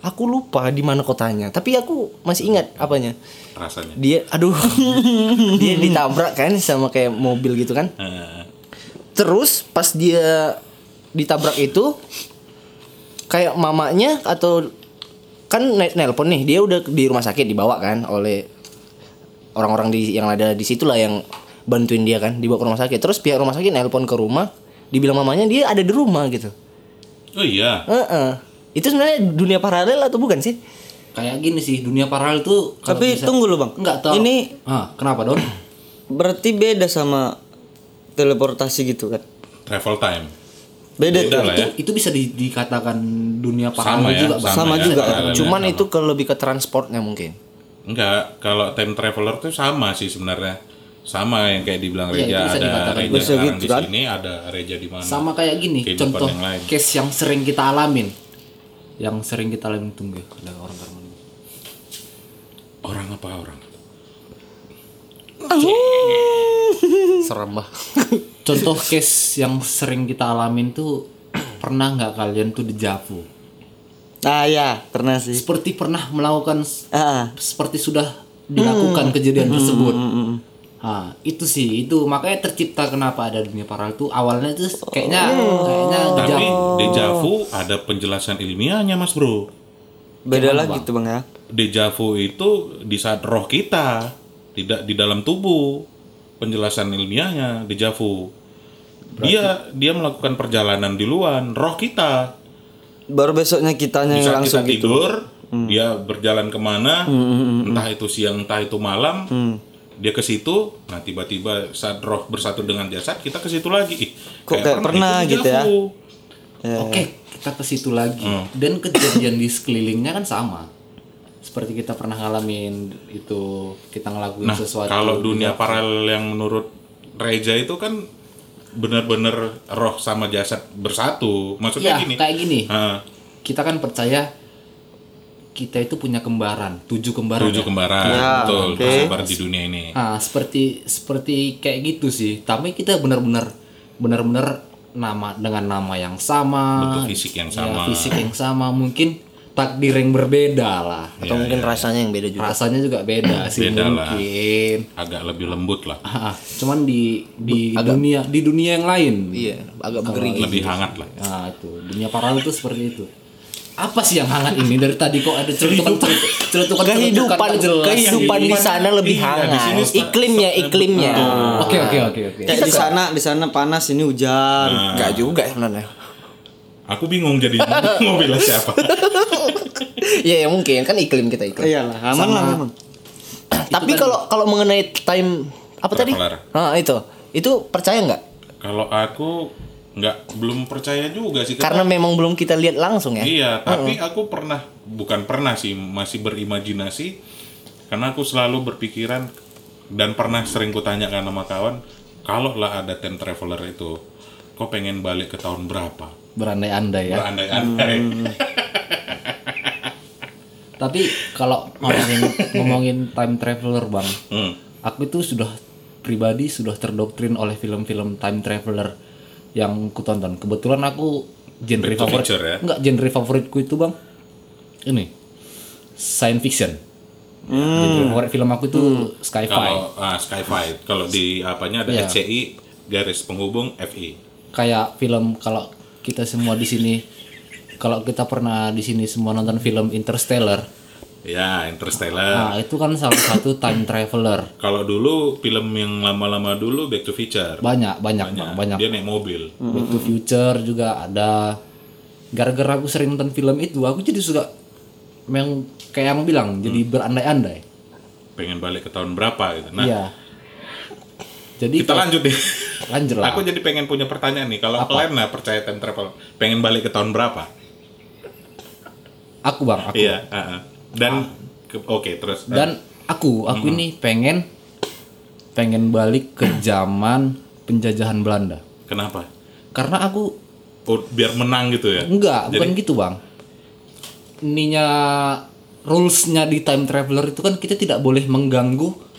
Speaker 5: Aku lupa di mana kotanya, tapi aku masih ingat apanya.
Speaker 2: Rasanya.
Speaker 5: Dia aduh. dia ditabrak kan sama kayak mobil gitu kan.
Speaker 2: Eh,
Speaker 5: Terus pas dia ditabrak itu kayak mamanya atau kan ne- nelpon nih, dia udah di rumah sakit dibawa kan oleh orang-orang di yang ada di situ lah yang bantuin dia kan dibawa ke rumah sakit. Terus pihak rumah sakit nelpon ke rumah, dibilang mamanya dia ada di rumah gitu.
Speaker 2: oh iya.
Speaker 5: Heeh. Itu sebenarnya dunia paralel atau bukan sih?
Speaker 1: kayak gini sih dunia paralel tuh kalau
Speaker 6: Tapi
Speaker 1: bisa-
Speaker 6: tunggu lu, Bang.
Speaker 1: enggak tahu
Speaker 6: Ini
Speaker 1: ah, kenapa Don
Speaker 6: berarti beda sama teleportasi gitu kan.
Speaker 2: Travel time.
Speaker 6: Beda
Speaker 2: Beda
Speaker 6: tuh.
Speaker 2: lah ya.
Speaker 1: itu bisa di- dikatakan
Speaker 2: Sama
Speaker 1: dunia paralel
Speaker 2: ya,
Speaker 1: juga Bang.
Speaker 6: Sama
Speaker 2: ya,
Speaker 6: juga.
Speaker 2: paralelnya.
Speaker 5: Cuman itu ke lebih ke transportnya mungkin.
Speaker 2: Enggak, kalau time traveler tuh sama sih sebenarnya. Sama yang kayak dibilang
Speaker 1: Iya, itu
Speaker 2: Reja
Speaker 1: bisa
Speaker 2: ada
Speaker 1: dikatakan.
Speaker 2: Reja
Speaker 6: Bisa
Speaker 2: sekarang
Speaker 6: gitu
Speaker 2: di
Speaker 6: kan?
Speaker 2: sini, ada Reja di mana.
Speaker 1: sama kayak gini
Speaker 2: Kehidupan
Speaker 1: contoh
Speaker 2: yang lain.
Speaker 1: case yang sering kita alamin yang sering kita alamin tunggu ya, ada orang Karman
Speaker 2: Orang apa orang?
Speaker 5: Serem bah.
Speaker 1: contoh case yang sering kita alamin tuh pernah nggak kalian tuh dejavu
Speaker 6: Ah ya, pernah sih.
Speaker 1: seperti pernah melakukan s-
Speaker 6: Ah, ah.
Speaker 1: seperti sudah dilakukan kejadian tersebut Ah, itu sih itu makanya tercipta kenapa ada dunia paralel tuh awalnya tuh kayaknya kayaknya
Speaker 2: Tapi ya,
Speaker 1: dejavu
Speaker 2: dejavu ada penjelasan ilmiahnya Mas Bro.
Speaker 6: beda lagi tuh, Bang ya.
Speaker 2: Dejavu itu di saat roh kita, tidak di dalam tubuh. Penjelasan ilmiahnya dejavu. Dia dia melakukan perjalanan di luar roh kita.
Speaker 6: Baru besoknya kitanya
Speaker 2: Di saat
Speaker 6: yang Iya, langsung gitu. Hmm.
Speaker 2: kita tidur, dia berjalan kemana, entah itu siang, entah itu malam,
Speaker 6: Hmm.
Speaker 2: dia ke situ, nah tiba-tiba saat roh bersatu dengan jasad, kita ke situ lagi. Ih,
Speaker 6: Kok kayak pernah
Speaker 2: itu
Speaker 6: gitu ya?
Speaker 2: dejavu.
Speaker 1: Oke, kita ke situ lagi.
Speaker 2: Hmm.
Speaker 1: Dan kejadian di sekelilingnya kan sama. Seperti kita pernah ngalamin itu, kita ngelakuin
Speaker 2: Nah,
Speaker 1: sesuatu.
Speaker 2: kalau dunia paralel yang menurut Reja itu kan benar-benar roh sama jasad bersatu. Maksudnya
Speaker 1: Iya,
Speaker 2: gini.
Speaker 1: kayak gini.
Speaker 2: ah,
Speaker 1: Kita kan percaya kita itu punya kembaran, tujuh kembaran.
Speaker 2: tujuh
Speaker 1: ya?
Speaker 2: kembaran,
Speaker 6: Ya,
Speaker 2: betul,
Speaker 6: oke.
Speaker 2: tersebar di dunia ini.
Speaker 1: Ah, seperti seperti kayak gitu sih. Tapi kita benar-benar benar-benar nama dengan nama yang sama,
Speaker 2: Bentuk fisik yang
Speaker 1: ya,
Speaker 2: sama.
Speaker 1: fisik yang sama mungkin takdir yang berbeda lah.
Speaker 5: atau mungkin rasanya yang beda juga
Speaker 1: Rasanya juga beda sih
Speaker 2: Beda lah.
Speaker 1: mungkin.
Speaker 2: agak lebih lembut lah
Speaker 1: Ah, cuman di di dunia di dunia yang lain.
Speaker 5: iya agak bergerigi
Speaker 2: lebih hangat lah
Speaker 1: Nah, itu dunia paralel itu seperti itu. Apa sih yang hangat ini dari tadi kok ada celutukan celutukan
Speaker 5: kehidupan kehidupan di sana lebih
Speaker 2: Iya, di
Speaker 5: hangat
Speaker 2: sini sta-
Speaker 5: iklimnya iklimnya
Speaker 1: Oke oke oke oke.
Speaker 6: Kayak di sana di sana panas ini hujan.
Speaker 5: enggak juga ya, sebenarnya
Speaker 2: aku bingung jadi mau bilang siapa
Speaker 5: Iya ya mungkin kan iklim kita iklim.
Speaker 6: Iyalah, aman lah aman.
Speaker 5: Tapi kalau kalau mengenai time apa tadi?
Speaker 2: Traveler.
Speaker 5: Ah itu itu percaya nggak?
Speaker 2: kalau aku nggak belum percaya juga sih
Speaker 5: Karena memang belum kita lihat langsung ya.
Speaker 1: Eh,
Speaker 2: Iya,
Speaker 1: uh-uh.
Speaker 2: tapi aku pernah bukan pernah sih, masih berimajinasi karena aku selalu berpikiran dan pernah sering kutanyakan sama kawan, kalau lah ada time traveler itu, kau pengen balik ke tahun berapa?
Speaker 1: Berandai-andai ya.
Speaker 2: Berandai-andai.
Speaker 1: Tapi kalau ngomongin ngomongin time traveler bang,
Speaker 2: Hmm.
Speaker 1: aku itu sudah pribadi sudah terdoktrin oleh film-film time traveler yang kutonton. Kebetulan aku genre
Speaker 2: to
Speaker 1: favorit,
Speaker 2: nature ya?
Speaker 1: enggak genre favoritku itu bang, ini science fiction. Genre favorit film aku itu sci-fi.
Speaker 2: Kalau ah, Skyfight, kalau di apanya ada
Speaker 1: Ya.
Speaker 2: HCI garis penghubung FI.
Speaker 1: kayak film kalau kita semua di sini kalau kita pernah di sini semua nonton film Interstellar
Speaker 2: Ya, Interstellar.
Speaker 1: nah itu kan salah satu time traveler
Speaker 2: Kalau dulu film yang lama-lama dulu Back to Future. Nah,
Speaker 1: banyak banyak banyak, banyak.
Speaker 2: Dia naik mobil.
Speaker 1: Back to Future juga ada gara-gara aku sering nonton film itu aku jadi suka memang kayak yang bilang jadi berandai-andai
Speaker 2: Pengen balik ke tahun berapa gitu. Hmm. Nah,
Speaker 1: iya jadi
Speaker 2: kita
Speaker 1: kalau-
Speaker 2: lanjut nih.
Speaker 1: lanjut lah
Speaker 2: Aku jadi pengen punya pertanyaan nih. Kalau kalian lah percaya time travel, pengen balik ke tahun berapa?
Speaker 1: aku bang aku Ah.
Speaker 2: Iya. heeh. Dan ke- oke terus. eh,
Speaker 1: dan aku aku
Speaker 2: Hmm.
Speaker 1: ini pengen pengen balik ke zaman penjajahan Belanda
Speaker 2: kenapa?
Speaker 1: karena aku
Speaker 2: Oh, biar menang gitu ya.
Speaker 1: Enggak, bukan gitu bang. Ininya rulesnya di time traveler itu kan kita tidak boleh mengganggu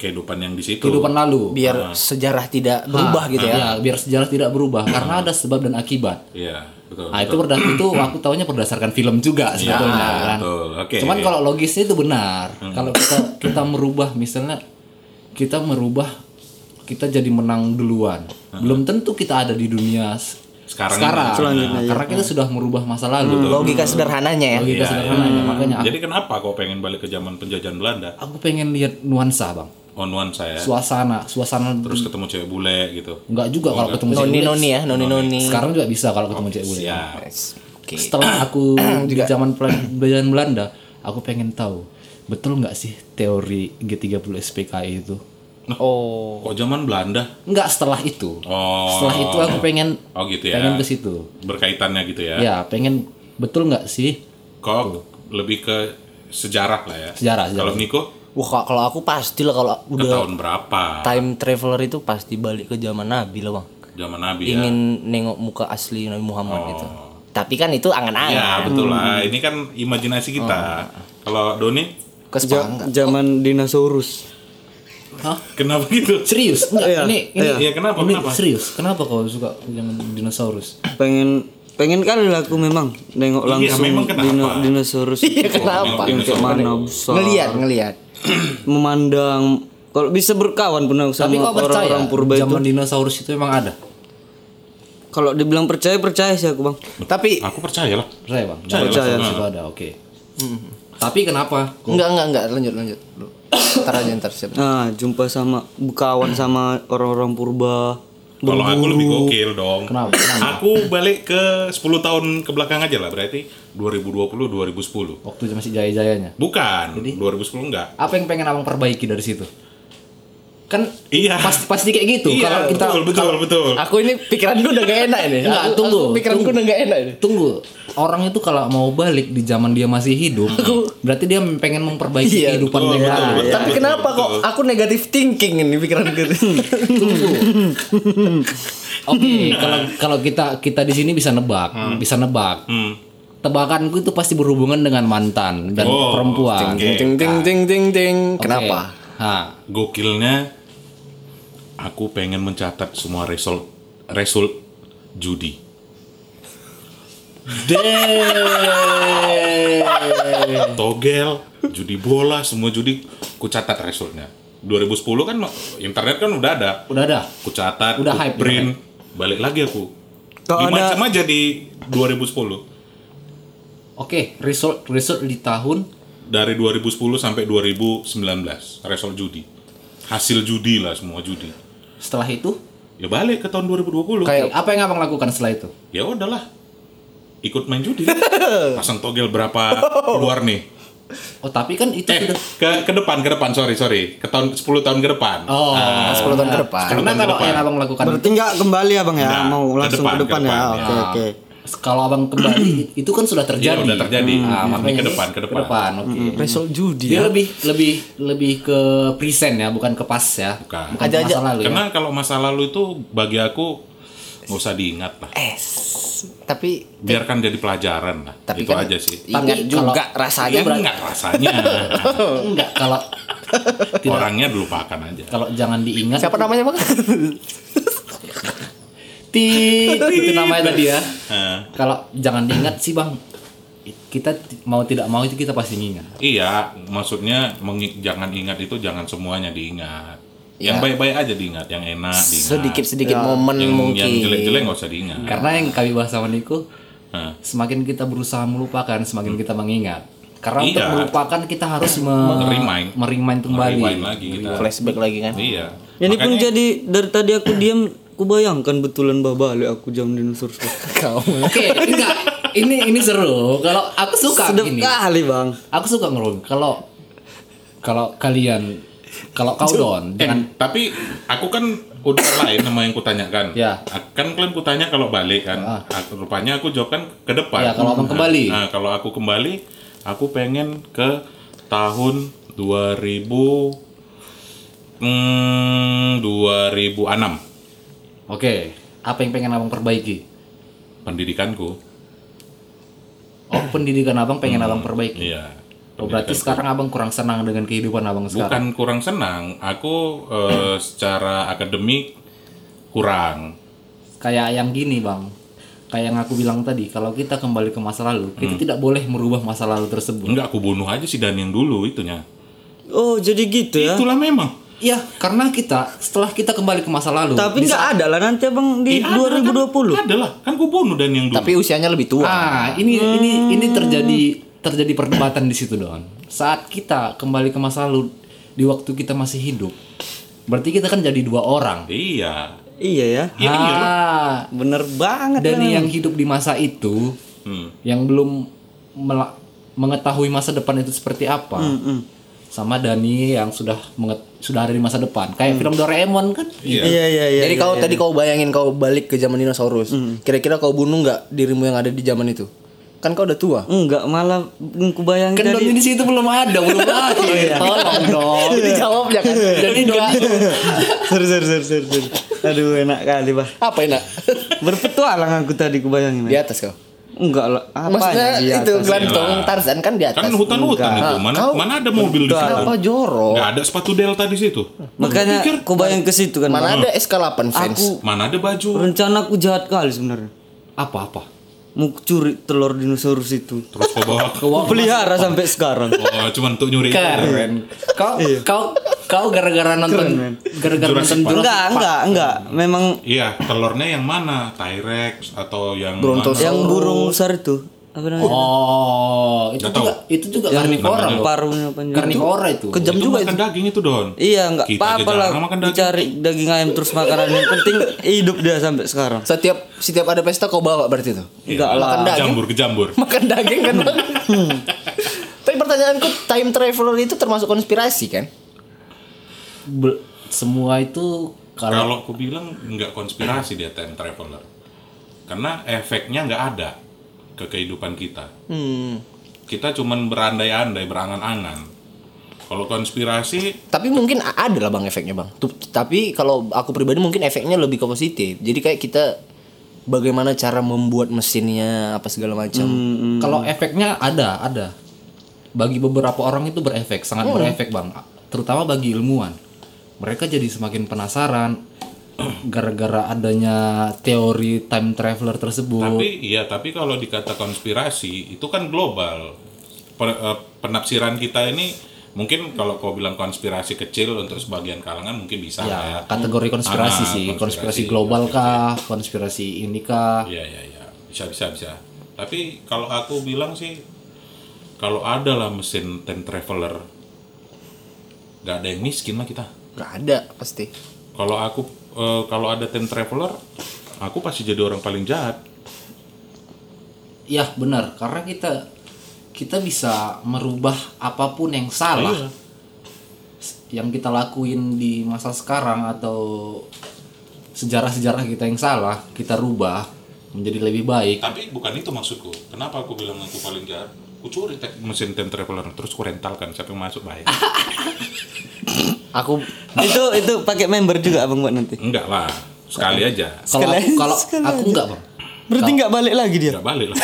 Speaker 2: Kehidupan yang di situ.
Speaker 1: kehidupan lalu.
Speaker 5: Biar sejarah tidak berubah gitu ya.
Speaker 1: Ya, biar sejarah tidak berubah karena ada sebab dan akibat.
Speaker 2: Iya, betul. Iya, Ah,
Speaker 1: Nah itu berdas itu aku tahunya berdasarkan film juga sebetulnya. kan.
Speaker 2: betul. Oke. Hmm.
Speaker 1: Cuman kalau logisnya itu benar. Kalau kita kita merubah misalnya kita merubah kita jadi menang duluan.
Speaker 2: Hmm.
Speaker 1: Belum tentu kita ada di dunia s-
Speaker 2: Sekarang ini. ah,
Speaker 1: sekarang. Nah,
Speaker 5: iya.
Speaker 6: Selanjutnya,
Speaker 1: karena kita
Speaker 5: Hmm.
Speaker 1: sudah merubah masa lalu.
Speaker 5: Logika sederhananya ya.
Speaker 1: Ah. Logika
Speaker 2: Iya,
Speaker 1: sederhananya makanya
Speaker 2: Jadi kenapa kau pengen balik ke zaman penjajahan Belanda?
Speaker 1: aku pengen lihat nuansa bang
Speaker 2: On one saya.
Speaker 1: suasana suasana
Speaker 2: Terus ketemu cewek bule gitu.
Speaker 1: nggak juga kalau ketemu cewek
Speaker 5: Noni
Speaker 1: bule.
Speaker 5: noni ya, noni noni.
Speaker 1: sekarang juga bisa kalau ketemu cewek bule
Speaker 2: Ya.
Speaker 1: setelah aku di zaman pelajaran Belanda aku pengen tahu betul nggak sih teori G30 SPKI itu
Speaker 5: Oh.
Speaker 2: Kok zaman Belanda?
Speaker 1: nggak setelah itu
Speaker 2: Oh.
Speaker 1: setelah itu aku pengen
Speaker 2: Oh gitu ya.
Speaker 1: pengen ke situ
Speaker 2: Berkaitannya gitu ya.
Speaker 1: ya pengen betul nggak sih
Speaker 2: Kok lebih ke sejarah lah ya.
Speaker 1: Sejarah,
Speaker 2: Kalau
Speaker 1: sejarah.
Speaker 2: Niko
Speaker 5: Wah ka- kalau aku pasti lah kalau
Speaker 2: ke
Speaker 5: udah
Speaker 2: tahun berapa?
Speaker 5: time traveler itu pasti balik ke zaman Nabi lah bang.
Speaker 2: Zaman Nabi ya.
Speaker 5: Ingin nengok muka asli Nabi
Speaker 2: Oh.
Speaker 5: Muhammad gitu. Tapi kan
Speaker 2: Ya
Speaker 5: itu
Speaker 1: Hmm.
Speaker 5: angan-angan.
Speaker 2: betul lah. Ini kan imajinasi
Speaker 1: Oh.
Speaker 2: kita. Kalau Doni
Speaker 5: Ke
Speaker 6: Ja-
Speaker 5: Spanyol.
Speaker 6: zaman dinosaurus.
Speaker 2: kenapa gitu?
Speaker 1: serius enggak
Speaker 6: Iya,
Speaker 1: ini ini
Speaker 2: iya. Iya, kenapa,
Speaker 1: ini
Speaker 2: kenapa?
Speaker 1: serius kenapa kau suka yang dinosaurus
Speaker 6: Pengen pengen kali lah aku memang nengok
Speaker 2: Iya,
Speaker 6: langsung
Speaker 2: memang kenapa?
Speaker 6: dino- dinosaurus.
Speaker 5: Iya kenapa?
Speaker 6: Yang kayak mana besar.
Speaker 5: Ngeliat ngeliat.
Speaker 6: memandang kalau bisa berkawan pernah sama
Speaker 1: tapi kau percaya
Speaker 6: orang-orang purba itu.
Speaker 1: zaman dinosaurus itu emang ada
Speaker 6: Kalau dibilang percaya percaya sih aku, Bang.
Speaker 5: Tapi
Speaker 2: Aku percaya lah.
Speaker 1: Percaya bang?
Speaker 2: Percaya,
Speaker 1: Dalam
Speaker 2: percaya. Hmm.
Speaker 1: situ ada, oke. Tapi kenapa?
Speaker 5: Enggak, enggak, enggak. Lanjut, lanjut. Ntar aja, ntar siap.
Speaker 6: Nah, jumpa sama berkawan sama orang-orang purba.
Speaker 2: Kalau aku lebih gokil dong.
Speaker 1: Kenapa?
Speaker 2: Aku balik ke 10 tahun ke belakang aja lah. Berarti 2020 2010.
Speaker 1: Waktu masih jaya-jayanya.
Speaker 2: Bukan, 2010 enggak.
Speaker 1: Apa yang pengen abang perbaiki dari situ? Kan
Speaker 2: Iya.
Speaker 1: pasti pasti kayak gitu.
Speaker 2: Iya,
Speaker 1: kalau kita
Speaker 2: betul, betul, betul.
Speaker 5: Aku ini pikiran gue udah gak enak ini.
Speaker 1: Enggak,
Speaker 5: Aku-
Speaker 1: tunggu,
Speaker 5: aku Pikiran gue
Speaker 1: tunggu.
Speaker 5: udah gak enak ini.
Speaker 1: tunggu, orang itu kalau mau balik di zaman dia masih hidup, berarti dia pengen memperbaiki
Speaker 5: Iya,
Speaker 1: kehidupan
Speaker 2: betul,
Speaker 1: dia.
Speaker 2: betul, betul.
Speaker 5: Tapi
Speaker 2: betul,
Speaker 5: kenapa
Speaker 2: betul.
Speaker 5: kok aku negatif thinking ini pikiran gue?
Speaker 1: Oke,
Speaker 2: Iya.
Speaker 1: kalau kalau kita kita di sini bisa nebak, bisa nebak.
Speaker 2: Hmm.
Speaker 1: Tebakanku itu pasti berhubungan dengan mantan dan
Speaker 2: Oh,
Speaker 1: perempuan.
Speaker 2: oke.
Speaker 5: ting ting ting ting ting.
Speaker 1: Oke.
Speaker 5: Kenapa?
Speaker 1: Hah.
Speaker 2: Gokilnya aku pengen mencatat semua result result judi. togel, judi bola, semua judi kucatat resultnya. 2010 kan internet kan udah ada.
Speaker 1: Udah ada.
Speaker 2: Kucatat,
Speaker 1: Udah
Speaker 2: ku
Speaker 1: hype,
Speaker 2: print, balik lagi aku.
Speaker 6: Kalau
Speaker 2: Gimana
Speaker 6: ada-
Speaker 2: sama jadi 2010?
Speaker 1: Oke, result result di tahun
Speaker 2: Dari 2010 sampai 2019 result judi. Hasil judi lah semua judi.
Speaker 1: setelah itu
Speaker 2: Ya balik ke tahun 2020.
Speaker 1: kayak apa yang abang lakukan setelah itu?
Speaker 2: Ya udahlah. Ikut main judi. Pasang togel berapa keluar nih?
Speaker 1: Oh, tapi kan itu
Speaker 2: Eh,
Speaker 1: sudah
Speaker 2: ke, ke depan, ke depan, sorry, sorry. Ke tahun 10 tahun ke depan.
Speaker 1: Oh,
Speaker 5: 10 tahun ke depan.
Speaker 1: Karena kalau yang abang lakukan
Speaker 6: Berarti nggak kembali abang ya,
Speaker 2: Kan Nggak,
Speaker 6: mau
Speaker 2: ke
Speaker 6: langsung
Speaker 2: depan,
Speaker 6: ke depan,
Speaker 2: ke
Speaker 6: ya.
Speaker 2: depan,
Speaker 6: Oke
Speaker 1: ya.
Speaker 6: oke.
Speaker 1: kalau abang kembali itu kan sudah terjadi.
Speaker 2: Iya, udah terjadi.
Speaker 1: Nah,
Speaker 2: Hmm.
Speaker 1: makanya
Speaker 2: Ini ke depan, ke depan. Iya.
Speaker 1: oke.
Speaker 5: Hmm.
Speaker 6: Result judi
Speaker 5: ya.
Speaker 1: Dia lebih lebih lebih ke present ya, bukan ke pas ya.
Speaker 2: Bukan.
Speaker 1: Bukan ke
Speaker 5: Aja-aja.
Speaker 1: masa lalu ya.
Speaker 2: Karena kalau masa lalu itu bagi aku nggak usah diingat lah.
Speaker 5: Es. Tapi
Speaker 2: Biarkan jadi pelajaran lah.
Speaker 5: Tapi
Speaker 2: itu
Speaker 5: kan-
Speaker 2: aja sih.
Speaker 1: Tapi
Speaker 5: ingat
Speaker 1: kalau-
Speaker 5: juga rasanya.
Speaker 2: Ya enggak rasanya.
Speaker 1: Enggak kalau
Speaker 2: Orangnya dilupakan aja.
Speaker 1: kalau jangan diingat
Speaker 5: Siapa namanya bang?
Speaker 1: Tit, itu namanya tadi ya.
Speaker 2: Eh,
Speaker 1: Kalau jangan diingat sih bang, kita ti- mau tidak mau itu kita pasti ingat.
Speaker 2: iya, maksudnya mengi- jangan ingat itu jangan semuanya diingat.
Speaker 5: Iya.
Speaker 2: Yang baik-baik aja diingat, yang enak diingat.
Speaker 5: sedikit sedikit momen
Speaker 2: yang,
Speaker 5: mungkin. Iya.
Speaker 2: Yang jelek-jelek nggak usah diingat.
Speaker 1: Karena yang kami bahas sama Niko,
Speaker 2: Nah,
Speaker 1: semakin kita berusaha melupakan, semakin kita mengingat. Karena untuk
Speaker 2: Hmm. Iya.
Speaker 1: melupakan kita harus me-
Speaker 2: Merimain.
Speaker 1: merimain kembali.
Speaker 2: rewind lagi kita.
Speaker 5: Flashback lagi kan?
Speaker 2: Iya.
Speaker 6: Ini pun
Speaker 2: Makanya-
Speaker 6: jadi dari tadi aku diam, aku bayangkan betulan bawa balik aku jam dinosaurus. Kau
Speaker 1: Oke, enggak. Ini ini seru. Kalau aku suka
Speaker 6: sedap
Speaker 1: ini.
Speaker 6: kali bang.
Speaker 1: Aku suka ngerung. Kalau kalau kalian kalau kau don
Speaker 2: Eh,
Speaker 1: jangan
Speaker 2: tapi aku kan udah lain sama yang kutanyakan.
Speaker 1: Ya. Ah.
Speaker 2: Kan kalian kutanya kalau balik kan. Aku- rupanya aku jawab kan ke depan.
Speaker 1: Ya, kalau abang
Speaker 2: Nah,
Speaker 1: kembali.
Speaker 2: Nah, kalau aku kembali, aku pengen ke tahun 2000 hmm, 2006
Speaker 1: Oke, apa yang pengen abang perbaiki?
Speaker 2: pendidikanku.
Speaker 1: Oh, pendidikan abang pengen abang perbaiki.
Speaker 2: Iya.
Speaker 1: Oh, berarti sekarang abang kurang senang dengan kehidupan abang sekarang.
Speaker 2: Bukan kurang senang, aku eh, secara akademik kurang.
Speaker 1: Kayak yang gini bang, kayak yang aku bilang tadi, kalau kita kembali ke masa lalu, kita
Speaker 2: Hmm.
Speaker 1: tidak boleh merubah masa lalu tersebut.
Speaker 2: Enggak aku bunuh aja si Dan yang dulu itunya.
Speaker 6: Oh jadi gitu ya.
Speaker 2: Itulah memang.
Speaker 1: Iya, karena kita setelah kita kembali ke masa lalu,
Speaker 6: Tapi nggak ada lah nanti abang
Speaker 2: Iya,
Speaker 6: di
Speaker 2: kan?
Speaker 6: 2020.
Speaker 2: Ada lah, kan gue bunuh dan yang dulu.
Speaker 5: Tapi usianya lebih tua.
Speaker 1: ah ini ini ini terjadi terjadi perdebatan di situ don. Saat kita kembali ke masa lalu di waktu kita masih hidup, berarti kita kan jadi dua orang.
Speaker 2: Iya.
Speaker 6: Iya ya.
Speaker 2: Iya, iya.
Speaker 1: Ah,
Speaker 6: Bener banget.
Speaker 1: dan
Speaker 6: Bang.
Speaker 1: yang hidup di masa itu
Speaker 2: Hmm.
Speaker 1: yang belum mela- mengetahui masa depan itu seperti apa sama Dani yang sudah menget- sudah ada di masa depan kayak film Doraemon kan
Speaker 2: Iya.
Speaker 6: Iya iya iya.
Speaker 5: Jadi kau tadi kau bayangin kau balik ke zaman dinosaurus. Kira-kira kau bunuh nggak dirimu yang ada di zaman itu? Kan kau udah tua.
Speaker 6: Enggak malah aku bayangin
Speaker 1: kan Doni di situ belum ada belum lahir tolong dong
Speaker 5: Dijawabnya kan.
Speaker 1: jadi Doni
Speaker 6: Seru seru seru seru. seru. Aduh enak kali bah.
Speaker 5: Apa enak?
Speaker 6: Berpetualang aku tadi kebayangin.
Speaker 5: Di atas kau.
Speaker 6: Enggak lah.
Speaker 5: Maksudnya
Speaker 6: Apanya dia
Speaker 5: itu
Speaker 6: atas? ya.
Speaker 5: gelantung
Speaker 2: Iya.
Speaker 5: Tarzan kan di atas.
Speaker 2: Kan hutan-hutan itu. Mana
Speaker 5: Kau-
Speaker 2: mana ada mobil di situ?
Speaker 5: Kenapa jorok?
Speaker 2: Gak ada sepatu Delta di situ.
Speaker 6: Makanya aku bayang ke situ kan.
Speaker 5: Mana
Speaker 6: Bang.
Speaker 5: ada SK8 fans?
Speaker 6: Aku
Speaker 2: Mana ada baju?
Speaker 6: rencana aku jahat kali sebenarnya.
Speaker 1: apa apa
Speaker 6: Mau curi telur dinosaurus itu.
Speaker 2: Terus kau bawa ke
Speaker 6: Aku pelihara sampai sekarang.
Speaker 2: Oh, cuman untuk nyuri.
Speaker 1: keren kau kau kau gara-gara nonton gara-gara nonton
Speaker 2: Jurassic Park.
Speaker 1: Jurassic
Speaker 6: Enggak, enggak, enggak. Memang
Speaker 2: Iya, telurnya yang mana? T-Rex atau yang mana?
Speaker 6: yang burung besar itu apa namanya?
Speaker 1: Oh, itu
Speaker 2: Nggak
Speaker 1: juga itu juga karnivora loh.
Speaker 6: Paruhnya panjang.
Speaker 1: Karnivora Oh. itu.
Speaker 6: Kejam
Speaker 2: Itu
Speaker 6: juga
Speaker 2: makan
Speaker 6: itu.
Speaker 2: daging itu, Don.
Speaker 6: Iya, enggak
Speaker 2: Kita
Speaker 6: apa-apa
Speaker 2: aja
Speaker 6: lah.
Speaker 2: jarang makan daging.
Speaker 6: Dicari daging ayam terus makanan yang penting hidup dia sampai sekarang.
Speaker 5: Setiap setiap ada pesta kau bawa berarti tuh.
Speaker 6: Enggak lah.
Speaker 5: Makan daging.
Speaker 2: Kejambur, kejambur.
Speaker 5: Makan daging kan. Bang?
Speaker 6: Hmm.
Speaker 5: Tapi pertanyaanku time traveler itu termasuk konspirasi kan?
Speaker 1: Be- semua itu kalau
Speaker 2: Kalau aku bilang nggak konspirasi dia time traveler. Karena efeknya nggak ada ke kehidupan kita.
Speaker 6: Hmm.
Speaker 2: Kita cuman berandai-andai, berangan-angan. Kalau konspirasi
Speaker 5: Tapi mungkin a- ada lah bang efeknya bang. Tu- Tapi kalau aku pribadi mungkin efeknya lebih ke positif. Jadi kayak kita bagaimana cara membuat mesinnya apa segala macam.
Speaker 2: Hmm.
Speaker 1: kalau efeknya ada, ada. Bagi beberapa orang itu berefek,
Speaker 2: Hmm.
Speaker 1: sangat berefek, Bang. Terutama bagi ilmuwan. Mereka jadi semakin penasaran. gara-gara adanya teori time traveler tersebut.
Speaker 2: Tapi iya, tapi kalau dikata konspirasi itu kan global. Per- eh, penafsiran kita ini mungkin kalau kau bilang konspirasi kecil untuk sebagian kalangan mungkin bisa lah ya.
Speaker 1: ya, kategori konspirasi
Speaker 2: Ah,
Speaker 1: sih,
Speaker 2: konspirasi.
Speaker 1: konspirasi, global kah, konspirasi ini kah.
Speaker 2: Iya iya iya bisa bisa bisa. Tapi kalau aku bilang sih kalau ada lah mesin time traveler nggak ada yang miskin lah kita.
Speaker 5: Gak ada pasti.
Speaker 2: Kalau aku eh, kalau ada time traveler aku pasti jadi orang paling jahat.
Speaker 1: Ya benar, karena kita kita bisa merubah apapun yang salah yang kita lakuin di masa sekarang atau sejarah-sejarah kita yang salah kita rubah menjadi lebih baik.
Speaker 2: Tapi bukan itu maksudku. Kenapa aku bilang aku paling jahat? Ku curi te- mesin time traveler terus ku rentalkan siapa yang masuk baik.
Speaker 5: Aku
Speaker 6: itu itu pakai member juga abang buat nanti
Speaker 2: Enggak lah, sekali aja.
Speaker 1: Kalau aku,
Speaker 6: Sekalian-
Speaker 1: kalau
Speaker 6: sekalian
Speaker 1: aku
Speaker 6: aja.
Speaker 1: enggak bang.
Speaker 6: berarti nggak balik lagi dia
Speaker 2: Enggak balik lah.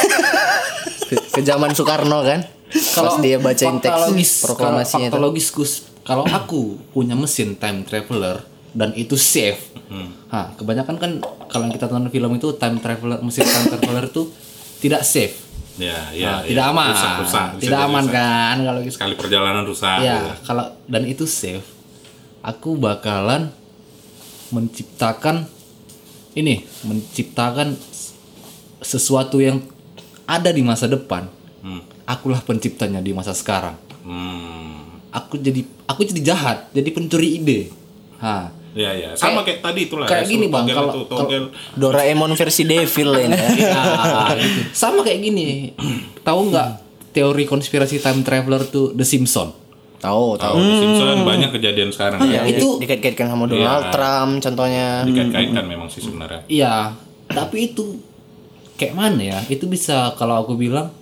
Speaker 5: ke, ke zaman Soekarno kan. Pas dia bacain
Speaker 1: faktologis,
Speaker 5: teks proklamasinya
Speaker 1: kalau
Speaker 5: itu.
Speaker 1: faktologiskus, kalau aku punya mesin time traveler dan itu safe Hah, kebanyakan kan kalau yang kita tonton film itu time traveler mesin time traveler itu tidak safe
Speaker 2: Ya, ya,
Speaker 1: Nah,
Speaker 2: ya.
Speaker 1: tidak aman
Speaker 2: Rusak, rusak. Bisa
Speaker 1: tidak
Speaker 2: jadi
Speaker 1: aman
Speaker 2: rusak.
Speaker 1: kan kalau gitu
Speaker 2: Sekali perjalanan rusak.
Speaker 1: ya
Speaker 2: gitu.
Speaker 1: kalau dan itu safe aku bakalan menciptakan ini menciptakan s- sesuatu yang ada di masa depan
Speaker 2: Hmm.
Speaker 1: akulah penciptanya di masa sekarang
Speaker 2: Hmm.
Speaker 1: aku jadi aku jadi jahat jadi pencuri ide ha
Speaker 2: Ya, ya. Sama kayak, tadi itulah.
Speaker 1: kayak
Speaker 2: ya, suruh
Speaker 1: gini, Bang,
Speaker 2: togel
Speaker 1: kalau- Oh.
Speaker 2: itu,
Speaker 1: kalau-
Speaker 2: togel.
Speaker 5: Doraemon versi devil ini.
Speaker 2: Ya.
Speaker 1: Ah, gitu. sama kayak gini tahu nggak
Speaker 2: Hmm.
Speaker 1: teori konspirasi time traveler tuh The Simpson
Speaker 5: Tahu, tahu.
Speaker 2: Tahu, Simpson banyak kejadian sekarang. ya.
Speaker 1: itu
Speaker 5: Dikait-kaitkan sama
Speaker 2: Iya.
Speaker 5: Donald Trump contohnya.
Speaker 2: Dikait-kaitkan memang sih sebenarnya.
Speaker 1: iya tapi itu kayak mana ya itu bisa kalau aku bilang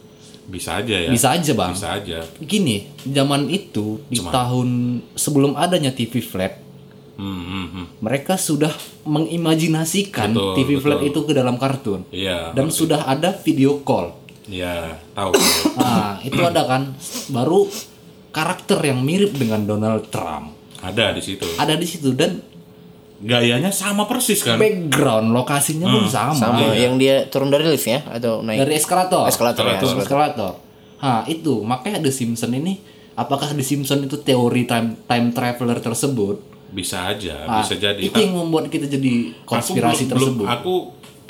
Speaker 2: Bisa aja ya.
Speaker 1: bisa aja bang
Speaker 2: Bisa aja.
Speaker 1: gini zaman itu di tahun sebelum adanya TV flat
Speaker 2: Hmm, hmm, hmm.
Speaker 1: mereka sudah mengimajinasikan
Speaker 2: Betul,
Speaker 1: TV flat
Speaker 2: betul.
Speaker 1: itu ke dalam kartun
Speaker 2: Iya.
Speaker 1: dan sudah ada video call
Speaker 2: Iya, tahu.
Speaker 1: Nah, itu ada kan. Baru karakter yang mirip dengan Donald Trump
Speaker 2: Ada di situ.
Speaker 1: ada di situ dan
Speaker 2: Gayanya sama persis kan?
Speaker 1: background lokasinya pun
Speaker 2: Hmm,
Speaker 1: sama,
Speaker 5: Sama
Speaker 2: iya.
Speaker 5: yang dia turun dari lift ya atau naik
Speaker 1: dari Iya, eskalator.
Speaker 5: eskalator ya.
Speaker 1: Eskalator. Eskalator. Nah, itu makanya The Simpson ini apakah The Simpson itu teori time time traveler tersebut?
Speaker 2: Bisa aja,
Speaker 1: Ah,
Speaker 2: bisa jadi.
Speaker 1: Itu yang membuat kita jadi
Speaker 2: aku
Speaker 1: konspirasi
Speaker 2: belum,
Speaker 1: tersebut.
Speaker 2: Belum, aku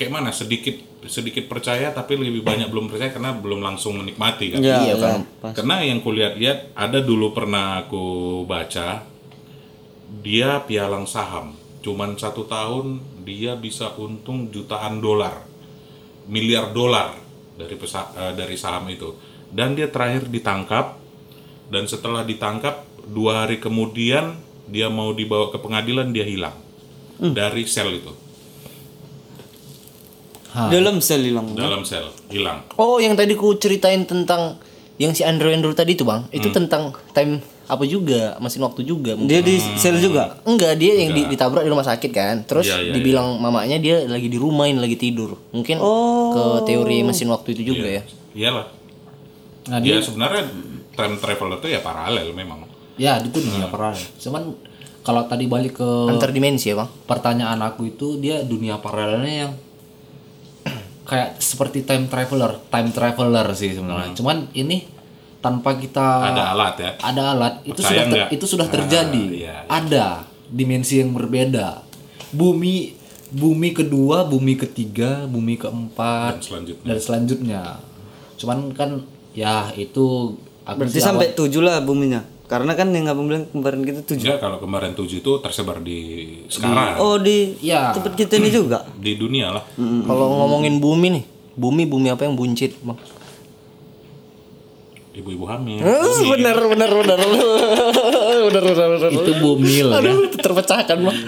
Speaker 2: kayak mana sedikit sedikit percaya tapi lebih banyak belum percaya karena belum langsung menikmati kan.
Speaker 6: iya kan
Speaker 2: Karena yang kulihat-lihat ada dulu pernah aku baca dia pialang saham. Cuman satu tahun dia bisa untung jutaan dolar, miliar dolar dari pesa- eh, dari saham itu. Dan dia terakhir ditangkap dan setelah ditangkap dua hari kemudian dia mau dibawa ke pengadilan dia hilang dari sel itu
Speaker 6: dalam sel hilang
Speaker 2: dalam sel hilang.
Speaker 5: Oh, yang tadi ku ceritain tentang yang si Andrew Andrew tadi itu, Bang. Itu tentang time apa juga, mesin waktu juga. mungkin.
Speaker 6: dia di sel juga
Speaker 5: Enggak, dia yang di- ditabrak di rumah sakit kan. Terus
Speaker 2: Iya, iya,
Speaker 5: dibilang mamanya dia lagi di rumah ini lagi tidur. Mungkin ke teori mesin waktu itu juga ya.
Speaker 2: Iyalah.
Speaker 1: Nah,
Speaker 2: dia sebenarnya time travel itu ya paralel memang.
Speaker 1: Ya,
Speaker 2: Ah.
Speaker 1: itu dunia paralel. Cuman kalau tadi balik ke
Speaker 5: Antar dimensi ya, Bang.
Speaker 1: pertanyaan aku itu dia dunia paralelnya yang kayak seperti time traveler, time traveler sih sebenarnya. Cuman ini tanpa kita
Speaker 2: Hmm. Ada alat ya.
Speaker 1: ada alat itu
Speaker 2: Percaya
Speaker 1: sudah ter-
Speaker 2: nggak?
Speaker 1: itu sudah terjadi.
Speaker 2: Ah, iya, iya.
Speaker 1: Ada dimensi yang berbeda. Bumi bumi kedua, bumi ketiga, bumi
Speaker 2: Dan
Speaker 1: keempat
Speaker 2: selanjutnya.
Speaker 1: dan selanjutnya. Cuman kan ya itu aku
Speaker 6: berarti
Speaker 1: sih
Speaker 6: sampai tujuh lah buminya karena kan yang abang bilang kemarin kita tujuh
Speaker 2: Enggak kalau kemarin 7 itu tersebar di sekarang
Speaker 6: oh di
Speaker 1: Ya.
Speaker 6: tempat kita ini juga
Speaker 2: di dunia lah.
Speaker 5: Kalau ngomongin bumi nih, bumi bumi apa yang buncit, Bang?
Speaker 2: Ibu-ibu hamil.
Speaker 5: Bener bener bener bener bener bener.
Speaker 1: itu bumi lah ya.
Speaker 5: Aduh, terpecahkan bang.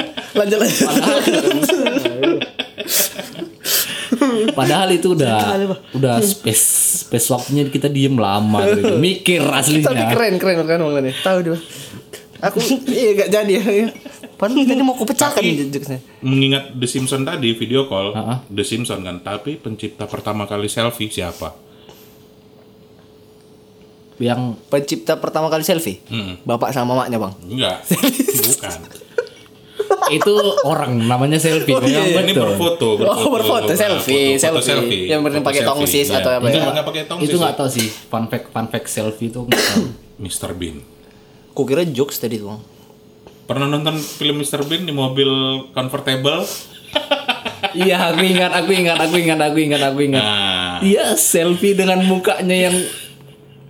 Speaker 5: lanjut lanjut.
Speaker 1: Padahal itu udah udah space space waktunya kita diem lama gitu. Mikir
Speaker 5: Tapi
Speaker 1: aslinya.
Speaker 5: keren keren keren bang ini. Tahu dia. Aku iya gak jadi ya. Padahal tadi mau kupecahkan jokesnya.
Speaker 2: Mengingat The Simpson tadi video call, The Simpson kan, tapi pencipta pertama kali selfie siapa?
Speaker 1: Yang
Speaker 5: Pencipta pertama kali selfie, bapak sama mamanya bang.
Speaker 2: Enggak. Bukan.
Speaker 1: itu orang namanya selfie memang
Speaker 2: Iya, ini
Speaker 1: Iya, betul.
Speaker 2: berfoto, berfoto,
Speaker 5: Oh, berfoto, selfie,
Speaker 2: foto, foto
Speaker 5: selfie. Yang bener
Speaker 2: foto
Speaker 5: pakai
Speaker 2: selfie,
Speaker 5: tongsis
Speaker 2: iya.
Speaker 5: atau apa
Speaker 2: Itu
Speaker 5: ya.
Speaker 2: nggak pakai tongsis.
Speaker 1: itu nggak tahu sih fun fact fun fact selfie itu nggak tahu.
Speaker 2: Mr. Bean.
Speaker 5: Ku kira jokes tadi tuh. Bang.
Speaker 2: Pernah nonton film Mr. Bean di mobil convertible?
Speaker 1: iya aku ingat aku ingat aku ingat aku ingat aku ingat
Speaker 2: Nah,
Speaker 1: Iya selfie dengan mukanya yang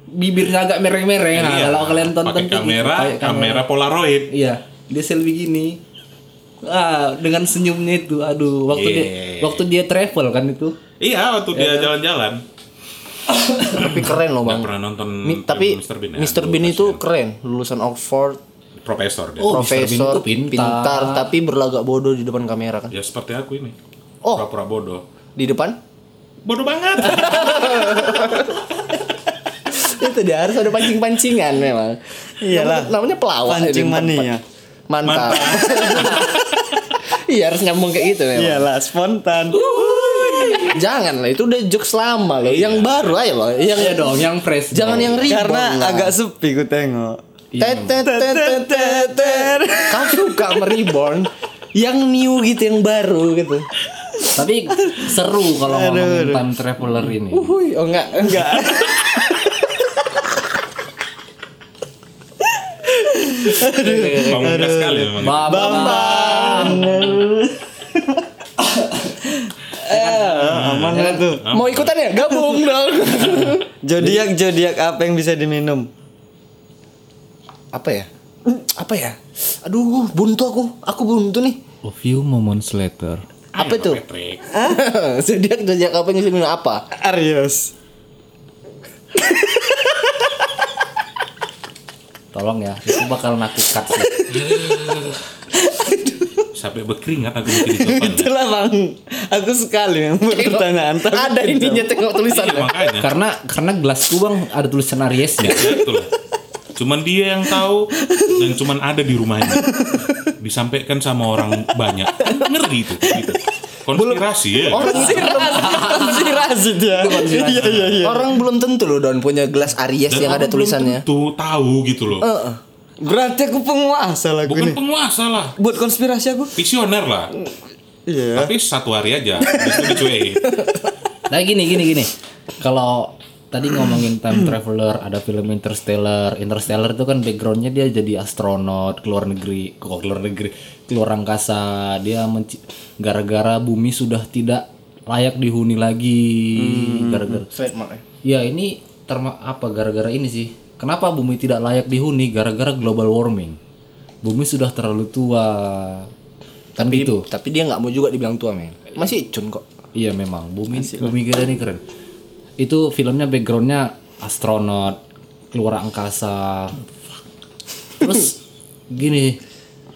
Speaker 1: bibirnya agak mereng-mereng. Nah,
Speaker 2: iya.
Speaker 1: kalau kalian tonton gitu,
Speaker 2: pakai
Speaker 1: tuh
Speaker 2: kamera,
Speaker 1: pakai
Speaker 2: kamera Polaroid.
Speaker 1: Iya, dia selfie gini. Ah, dengan senyumnya itu. Aduh, waktu dia
Speaker 2: Yeah.
Speaker 1: waktu dia travel kan itu.
Speaker 2: Iya, waktu
Speaker 5: Ya,
Speaker 2: dia
Speaker 5: kan?
Speaker 2: jalan-jalan.
Speaker 5: Tapi keren loh,
Speaker 2: Nggak
Speaker 5: Bang.
Speaker 2: pernah nonton
Speaker 5: Oh. Mi-
Speaker 2: film
Speaker 5: tapi
Speaker 2: Mr. Bean. ya?
Speaker 5: Mr. Bean itu keren, lulusan Oxford,
Speaker 2: profesor dia.
Speaker 1: Oh, Mr. Bean
Speaker 5: profesor,
Speaker 1: itu pintar.
Speaker 5: pintar, tapi berlagak bodoh di depan kamera kan.
Speaker 2: Ya seperti aku ini.
Speaker 5: Oh.
Speaker 2: Pura-pura bodoh.
Speaker 5: Di depan
Speaker 2: Bodoh banget.
Speaker 5: itu dia harus ada pancing-pancingan memang.
Speaker 6: Iyalah.
Speaker 5: Namanya, namanya pelawak eh,
Speaker 6: Pancing
Speaker 5: di tempat.
Speaker 6: mania.
Speaker 5: Mantap. Iya harus nyambung kayak gitu memang.
Speaker 6: Iyalah spontan.
Speaker 5: Jangan lah itu udah jokes lama loh. Yang baru aja loh. Yang
Speaker 1: Iya dong, yang fresh.
Speaker 5: jangan yang ribet.
Speaker 6: Karena agak sepi ku tengok.
Speaker 5: Kau suka sama reborn yang new gitu yang baru gitu.
Speaker 1: Tapi seru kalau ngomongin time traveler ini.
Speaker 5: Wuih, oh enggak enggak.
Speaker 2: Bangga sekali memang.
Speaker 1: Bam, bam, bam.
Speaker 6: Aman lah tuh.
Speaker 5: Mau ikutan ya? Gabung dong.
Speaker 6: Zodiak zodiak apa yang bisa diminum?
Speaker 5: Apa ya? Apa ya? Aduh, buntu aku. Aku buntu nih.
Speaker 1: A few moments later.
Speaker 5: Apa itu?
Speaker 2: Patrick.
Speaker 5: Zodiak zodiak apa yang minum apa?
Speaker 6: Aries.
Speaker 1: Tolong ya, itu bakal aku cut. sih.
Speaker 2: Sampai berkeringat aku bikin jawabannya.
Speaker 6: Itulah bang. Aku sekali yang pertanyaan tapi
Speaker 5: Ada ininya tengok
Speaker 2: Iya,
Speaker 5: tulisannya.
Speaker 2: makanya.
Speaker 1: karena karena gelasku Bang ada tulisan ya. Ariesnya.
Speaker 2: Betul. Cuman dia yang tahu dan cuman ada di rumahnya. Disampaikan sama orang banyak. Ngeri itu. Gitu. Konspirasi ya.
Speaker 5: Orang itu
Speaker 6: konspirasi Ah, dia. Iya iya iya.
Speaker 5: Orang belum tentu loh Don punya gelas Aries yang ada tulisannya. Eh,
Speaker 2: Tuh tahu gitu loh.
Speaker 6: Berarti aku penguasa lagu
Speaker 2: Bukan
Speaker 6: ini.
Speaker 2: penguasa lah.
Speaker 6: Buat konspirasi aku.
Speaker 2: Visioner lah.
Speaker 6: Iya.
Speaker 2: Tapi satu hari aja. Habis itu dicuekin.
Speaker 1: Nah gini gini gini. Kalau tadi ngomongin time traveler, ada film Interstellar. Interstellar itu kan backgroundnya dia jadi astronot keluar negeri, kok keluar negeri, keluar angkasa. Dia menci- gara-gara bumi sudah tidak layak dihuni lagi.
Speaker 5: Hmm,
Speaker 1: Gara-gara.
Speaker 5: eh.
Speaker 1: Ya ini terma apa gara-gara ini sih? Kenapa bumi tidak layak dihuni? Gara-gara global warming. Bumi sudah terlalu tua. Kan gitu.
Speaker 5: Tapi dia nggak mau juga dibilang tua men. Masih cun kok.
Speaker 1: Iya memang bumi bumi kita ini keren. Itu filmnya backgroundnya astronot keluar angkasa. Terus gini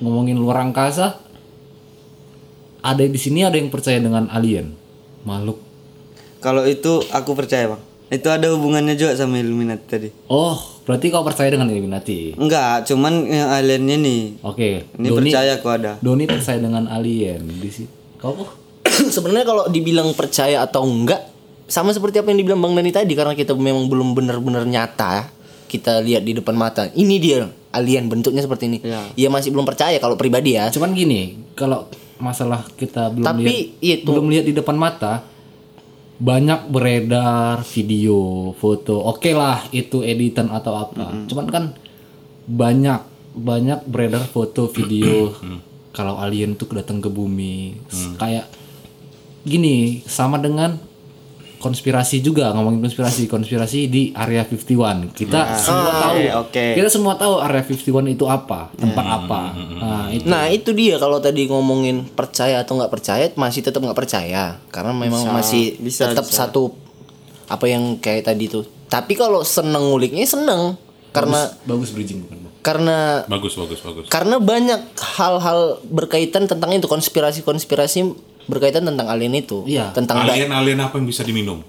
Speaker 1: ngomongin luar angkasa, ada di sini ada yang percaya dengan alien makhluk.
Speaker 6: Kalau itu aku percaya bang. Itu ada hubungannya juga sama Illuminati tadi.
Speaker 1: Oh berarti kau percaya dengan Illuminati?
Speaker 6: Enggak, cuman yang aliennya nih.
Speaker 1: Oke.
Speaker 6: Ini
Speaker 1: Doni
Speaker 6: percaya aku ada.
Speaker 1: Doni percaya dengan alien di sini. Kau kok?
Speaker 5: Sebenarnya kalau dibilang percaya atau enggak sama seperti apa yang dibilang Bang Dani tadi karena kita memang belum benar-benar nyata kita lihat di depan mata. Ini dia alien bentuknya seperti ini.
Speaker 6: Iya.
Speaker 5: Iya masih belum percaya kalau pribadi ya.
Speaker 1: Cuman gini, kalau masalah kita belum
Speaker 5: Tapi
Speaker 1: lihat,
Speaker 5: itu-
Speaker 1: belum lihat di depan mata, banyak beredar video, foto. Oke lah, itu editan atau apa. Cuman kan banyak banyak beredar foto, video kalau alien tuh datang ke bumi. S- Kayak gini, sama dengan konspirasi juga ngomongin konspirasi konspirasi di area 51 kita semua tahu
Speaker 6: oke.
Speaker 1: kita semua tahu area 51 itu apa tempat apa nah itu
Speaker 5: Nah itu dia kalau tadi ngomongin percaya atau nggak percaya masih tetap nggak percaya karena memang masih
Speaker 6: bisa,
Speaker 5: tetap satu apa yang kayak tadi tuh. Tapi kalau seneng nguliknya seneng karena
Speaker 1: bagus bridging bukan Bang?
Speaker 5: karena
Speaker 2: Bagus, bagus, bagus.
Speaker 5: karena banyak hal-hal berkaitan tentang itu konspirasi-konspirasi berkaitan tentang alien itu
Speaker 1: Iya.
Speaker 5: tentang da-
Speaker 2: Alien-alien apa yang bisa diminum?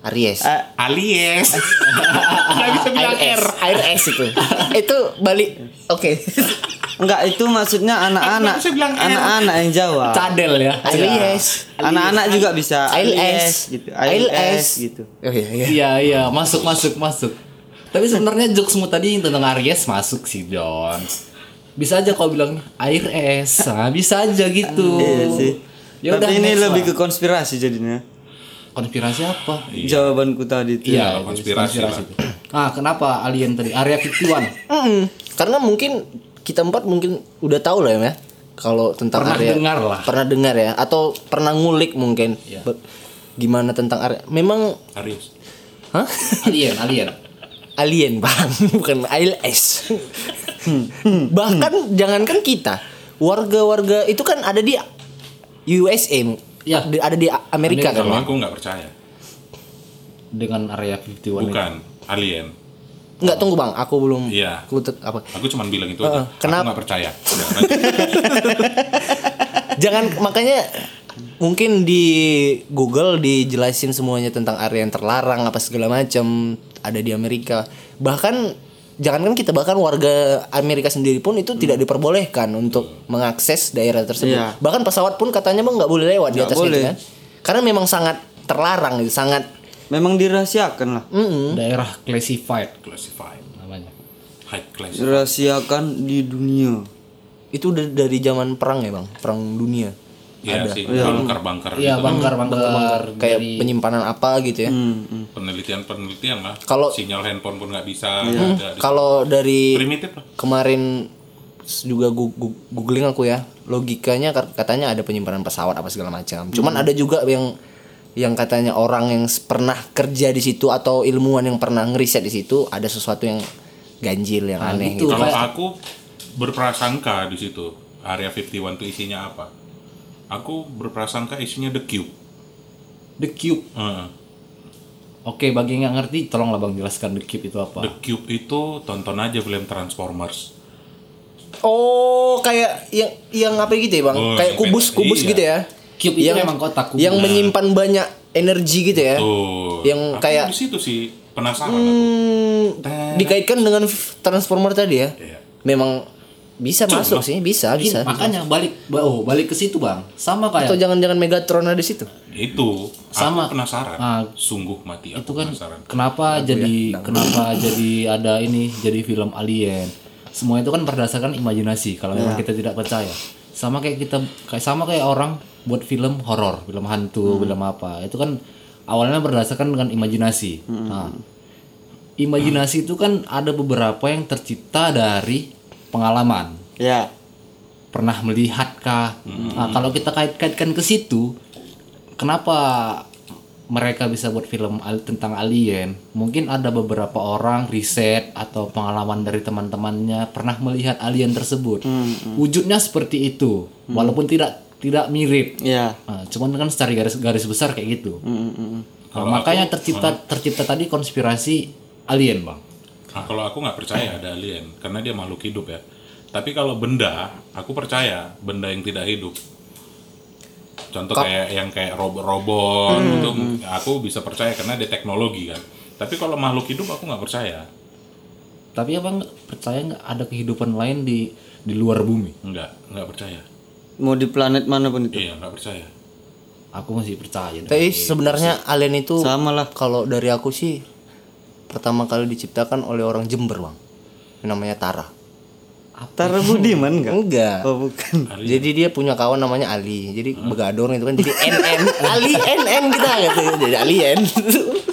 Speaker 5: Aries.
Speaker 6: Ah,
Speaker 2: Alies. Nggak bisa bilang
Speaker 5: Air S, air S itu. itu balik. Oke.
Speaker 6: Enggak, itu maksudnya anak-anak.
Speaker 2: Aku bisa bilang R.
Speaker 6: Anak-anak yang Jawa.
Speaker 1: cadel ya
Speaker 5: Aries.
Speaker 6: Anak-anak juga bisa
Speaker 5: ALS
Speaker 6: gitu.
Speaker 5: ALS
Speaker 6: ALS gitu.
Speaker 5: Oh iya iya.
Speaker 1: iya iya masuk masuk masuk tapi sebenarnya jokesmu tadi yang tentang Aries masuk sih Don bisa aja kau bilang air es nah, bisa aja gitu
Speaker 6: Iya sih.
Speaker 1: ya udah
Speaker 6: Tapi ini
Speaker 1: next
Speaker 6: lebih
Speaker 1: lah. Iya.
Speaker 6: ke konspirasi jadinya.
Speaker 1: konspirasi apa
Speaker 6: Jawabanku tadi itu.
Speaker 2: Iya,
Speaker 1: itu
Speaker 2: konspirasi lah.
Speaker 1: itu. ah kenapa alien tadi area 51
Speaker 5: Mm-mm. Karena mungkin kita empat mungkin udah tahu lah ya, Mel, kalau tentang
Speaker 1: Pernah
Speaker 5: area.
Speaker 1: dengar lah.
Speaker 5: Pernah dengar ya atau pernah ngulik mungkin. Be- Gimana tentang area? Memang
Speaker 2: Arius.
Speaker 5: hah?
Speaker 1: alien alien
Speaker 5: Alien, Bang, bukan ALS. Bahkan jangankan kita, warga-warga itu kan ada di USA.
Speaker 1: Ya.
Speaker 5: Di- ada di A- Amerika,
Speaker 2: Kalau
Speaker 5: kan. ya?
Speaker 2: aku nggak percaya.
Speaker 1: dengan area 51 itu.
Speaker 2: Bukan alien.
Speaker 5: Nggak tunggu, Bang, aku belum
Speaker 2: Iya.
Speaker 5: aku te- apa?
Speaker 2: Aku cuman bilang itu
Speaker 5: Heeh,
Speaker 2: aja.
Speaker 5: kenapa?
Speaker 2: Aku nggak percaya. Ya, lanjut.
Speaker 5: Jangan makanya mungkin di Google dijelasin semuanya tentang area yang terlarang apa segala macam ada di Amerika. Bahkan jangankan kita bahkan warga Amerika sendiri pun itu tidak diperbolehkan untuk mengakses daerah tersebut.
Speaker 6: Hmm. Iya.
Speaker 5: Bahkan pesawat pun katanya mah nggak boleh lewat di
Speaker 6: Nggak
Speaker 5: atas itu
Speaker 6: boleh.
Speaker 5: kan. Karena memang sangat terlarang gitu, sangat
Speaker 6: Memang dirahasiakan lah.
Speaker 1: daerah classified
Speaker 2: Classified.
Speaker 1: namanya
Speaker 2: High class.
Speaker 6: Dirahasiakan di dunia.
Speaker 5: itu udah dari zaman perang ya, Bang, perang dunia.
Speaker 2: Iya sih. Bangker-bangker
Speaker 1: iya
Speaker 2: gitu.
Speaker 1: bangkar bangkar
Speaker 5: Kayak penyimpanan apa gitu
Speaker 6: Hmm.
Speaker 5: ya.
Speaker 2: Penelitian-penelitian lah.
Speaker 5: Kalau-
Speaker 2: sinyal handphone pun nggak bisa. nggak ada.
Speaker 5: Kalau dari
Speaker 2: Primitif lah.
Speaker 5: kemarin s- juga gu- gu- googling aku ya logikanya kat- katanya ada penyimpanan pesawat apa segala macam cuman
Speaker 1: Hmm.
Speaker 5: ada juga yang yang katanya orang yang s- pernah kerja di situ atau ilmuwan yang pernah ngeriset di situ ada sesuatu yang ganjil yang aneh
Speaker 1: itu.
Speaker 5: gitu
Speaker 2: Kalau
Speaker 1: kayak-
Speaker 2: aku berprasangka di situ area 51 itu isinya apa? Aku berprasangka isinya The Cube.
Speaker 1: the cube
Speaker 2: Heeh.
Speaker 1: oke bagi yang nggak ngerti tolonglah bang jelaskan the cube itu apa
Speaker 2: The Cube itu tonton aja film Transformers.
Speaker 5: oh kayak yang yang apa gitu ya bang
Speaker 2: Oh,
Speaker 5: kayak
Speaker 2: yang
Speaker 5: kubus
Speaker 2: kayak-
Speaker 5: kubus
Speaker 2: iya.
Speaker 5: gitu ya
Speaker 1: Cube itu memang kotak kubus.
Speaker 5: yang menyimpan banyak energi gitu
Speaker 1: Eh,
Speaker 5: ya
Speaker 2: Tuh.
Speaker 5: Yang
Speaker 2: Aku
Speaker 5: kayak-
Speaker 2: di situ sih penasaran
Speaker 5: Hmm, dikaitkan dengan f- transformer tadi ya
Speaker 2: aku. Iya.
Speaker 5: memang bisa masuk sih bisa
Speaker 1: Mungkin
Speaker 5: bisa
Speaker 1: Iya, makanya balik oh balik ke situ bang sama
Speaker 5: atau
Speaker 1: kayak
Speaker 5: jangan-jangan Megatron ada di situ
Speaker 2: Itu
Speaker 1: Sama.
Speaker 2: aku penasaran.
Speaker 1: Ah.
Speaker 2: Sungguh mati aku
Speaker 1: itu kan
Speaker 2: penasaran.
Speaker 1: kenapa jadi kenapa jadi ada ini jadi film alien semua itu kan berdasarkan imajinasi kalau memang kita tidak percaya sama kayak kita kayak sama kayak orang buat film horor film hantu film apa itu kan awalnya berdasarkan dengan imajinasi nah imajinasi itu kan ada beberapa yang tercipta dari pengalaman
Speaker 6: Ya.
Speaker 1: pernah melihatkah? Nah, kalau kita kait-kaitkan ke situ, kenapa mereka bisa buat film al- tentang alien? Mungkin ada beberapa orang riset atau pengalaman dari teman-temannya pernah melihat alien tersebut. Wujudnya seperti itu, walaupun tidak tidak mirip.
Speaker 6: Ya.
Speaker 1: Nah, cuman kan secara garis garis besar kayak gitu. Nah, makanya tercipta tercipta tadi konspirasi alien, Bang.
Speaker 2: Nah, kalau aku nggak percaya ada alien karena dia makhluk hidup ya. Tapi kalau benda, aku percaya benda yang tidak hidup. Contoh kayak yang kayak robot-robot itu aku bisa percaya karena dia teknologi kan. Tapi kalau makhluk hidup aku nggak percaya.
Speaker 1: Tapi Abang percaya nggak ada kehidupan lain di di luar bumi?
Speaker 2: Enggak, nggak percaya.
Speaker 6: Mau di planet manapun itu.
Speaker 2: Iya, nggak percaya.
Speaker 1: Aku masih percaya.
Speaker 5: tapi sebenarnya alien itu
Speaker 6: Sama lah.
Speaker 5: kalau dari aku sih pertama kali diciptakan oleh orang Jember bang namanya Tara
Speaker 6: Tara Budiman enggak?
Speaker 5: enggak
Speaker 6: Oh, bukan.
Speaker 5: jadi dia punya kawan namanya Ali jadi begador itu kan jadi NN Ali NN kita gitu jadi alien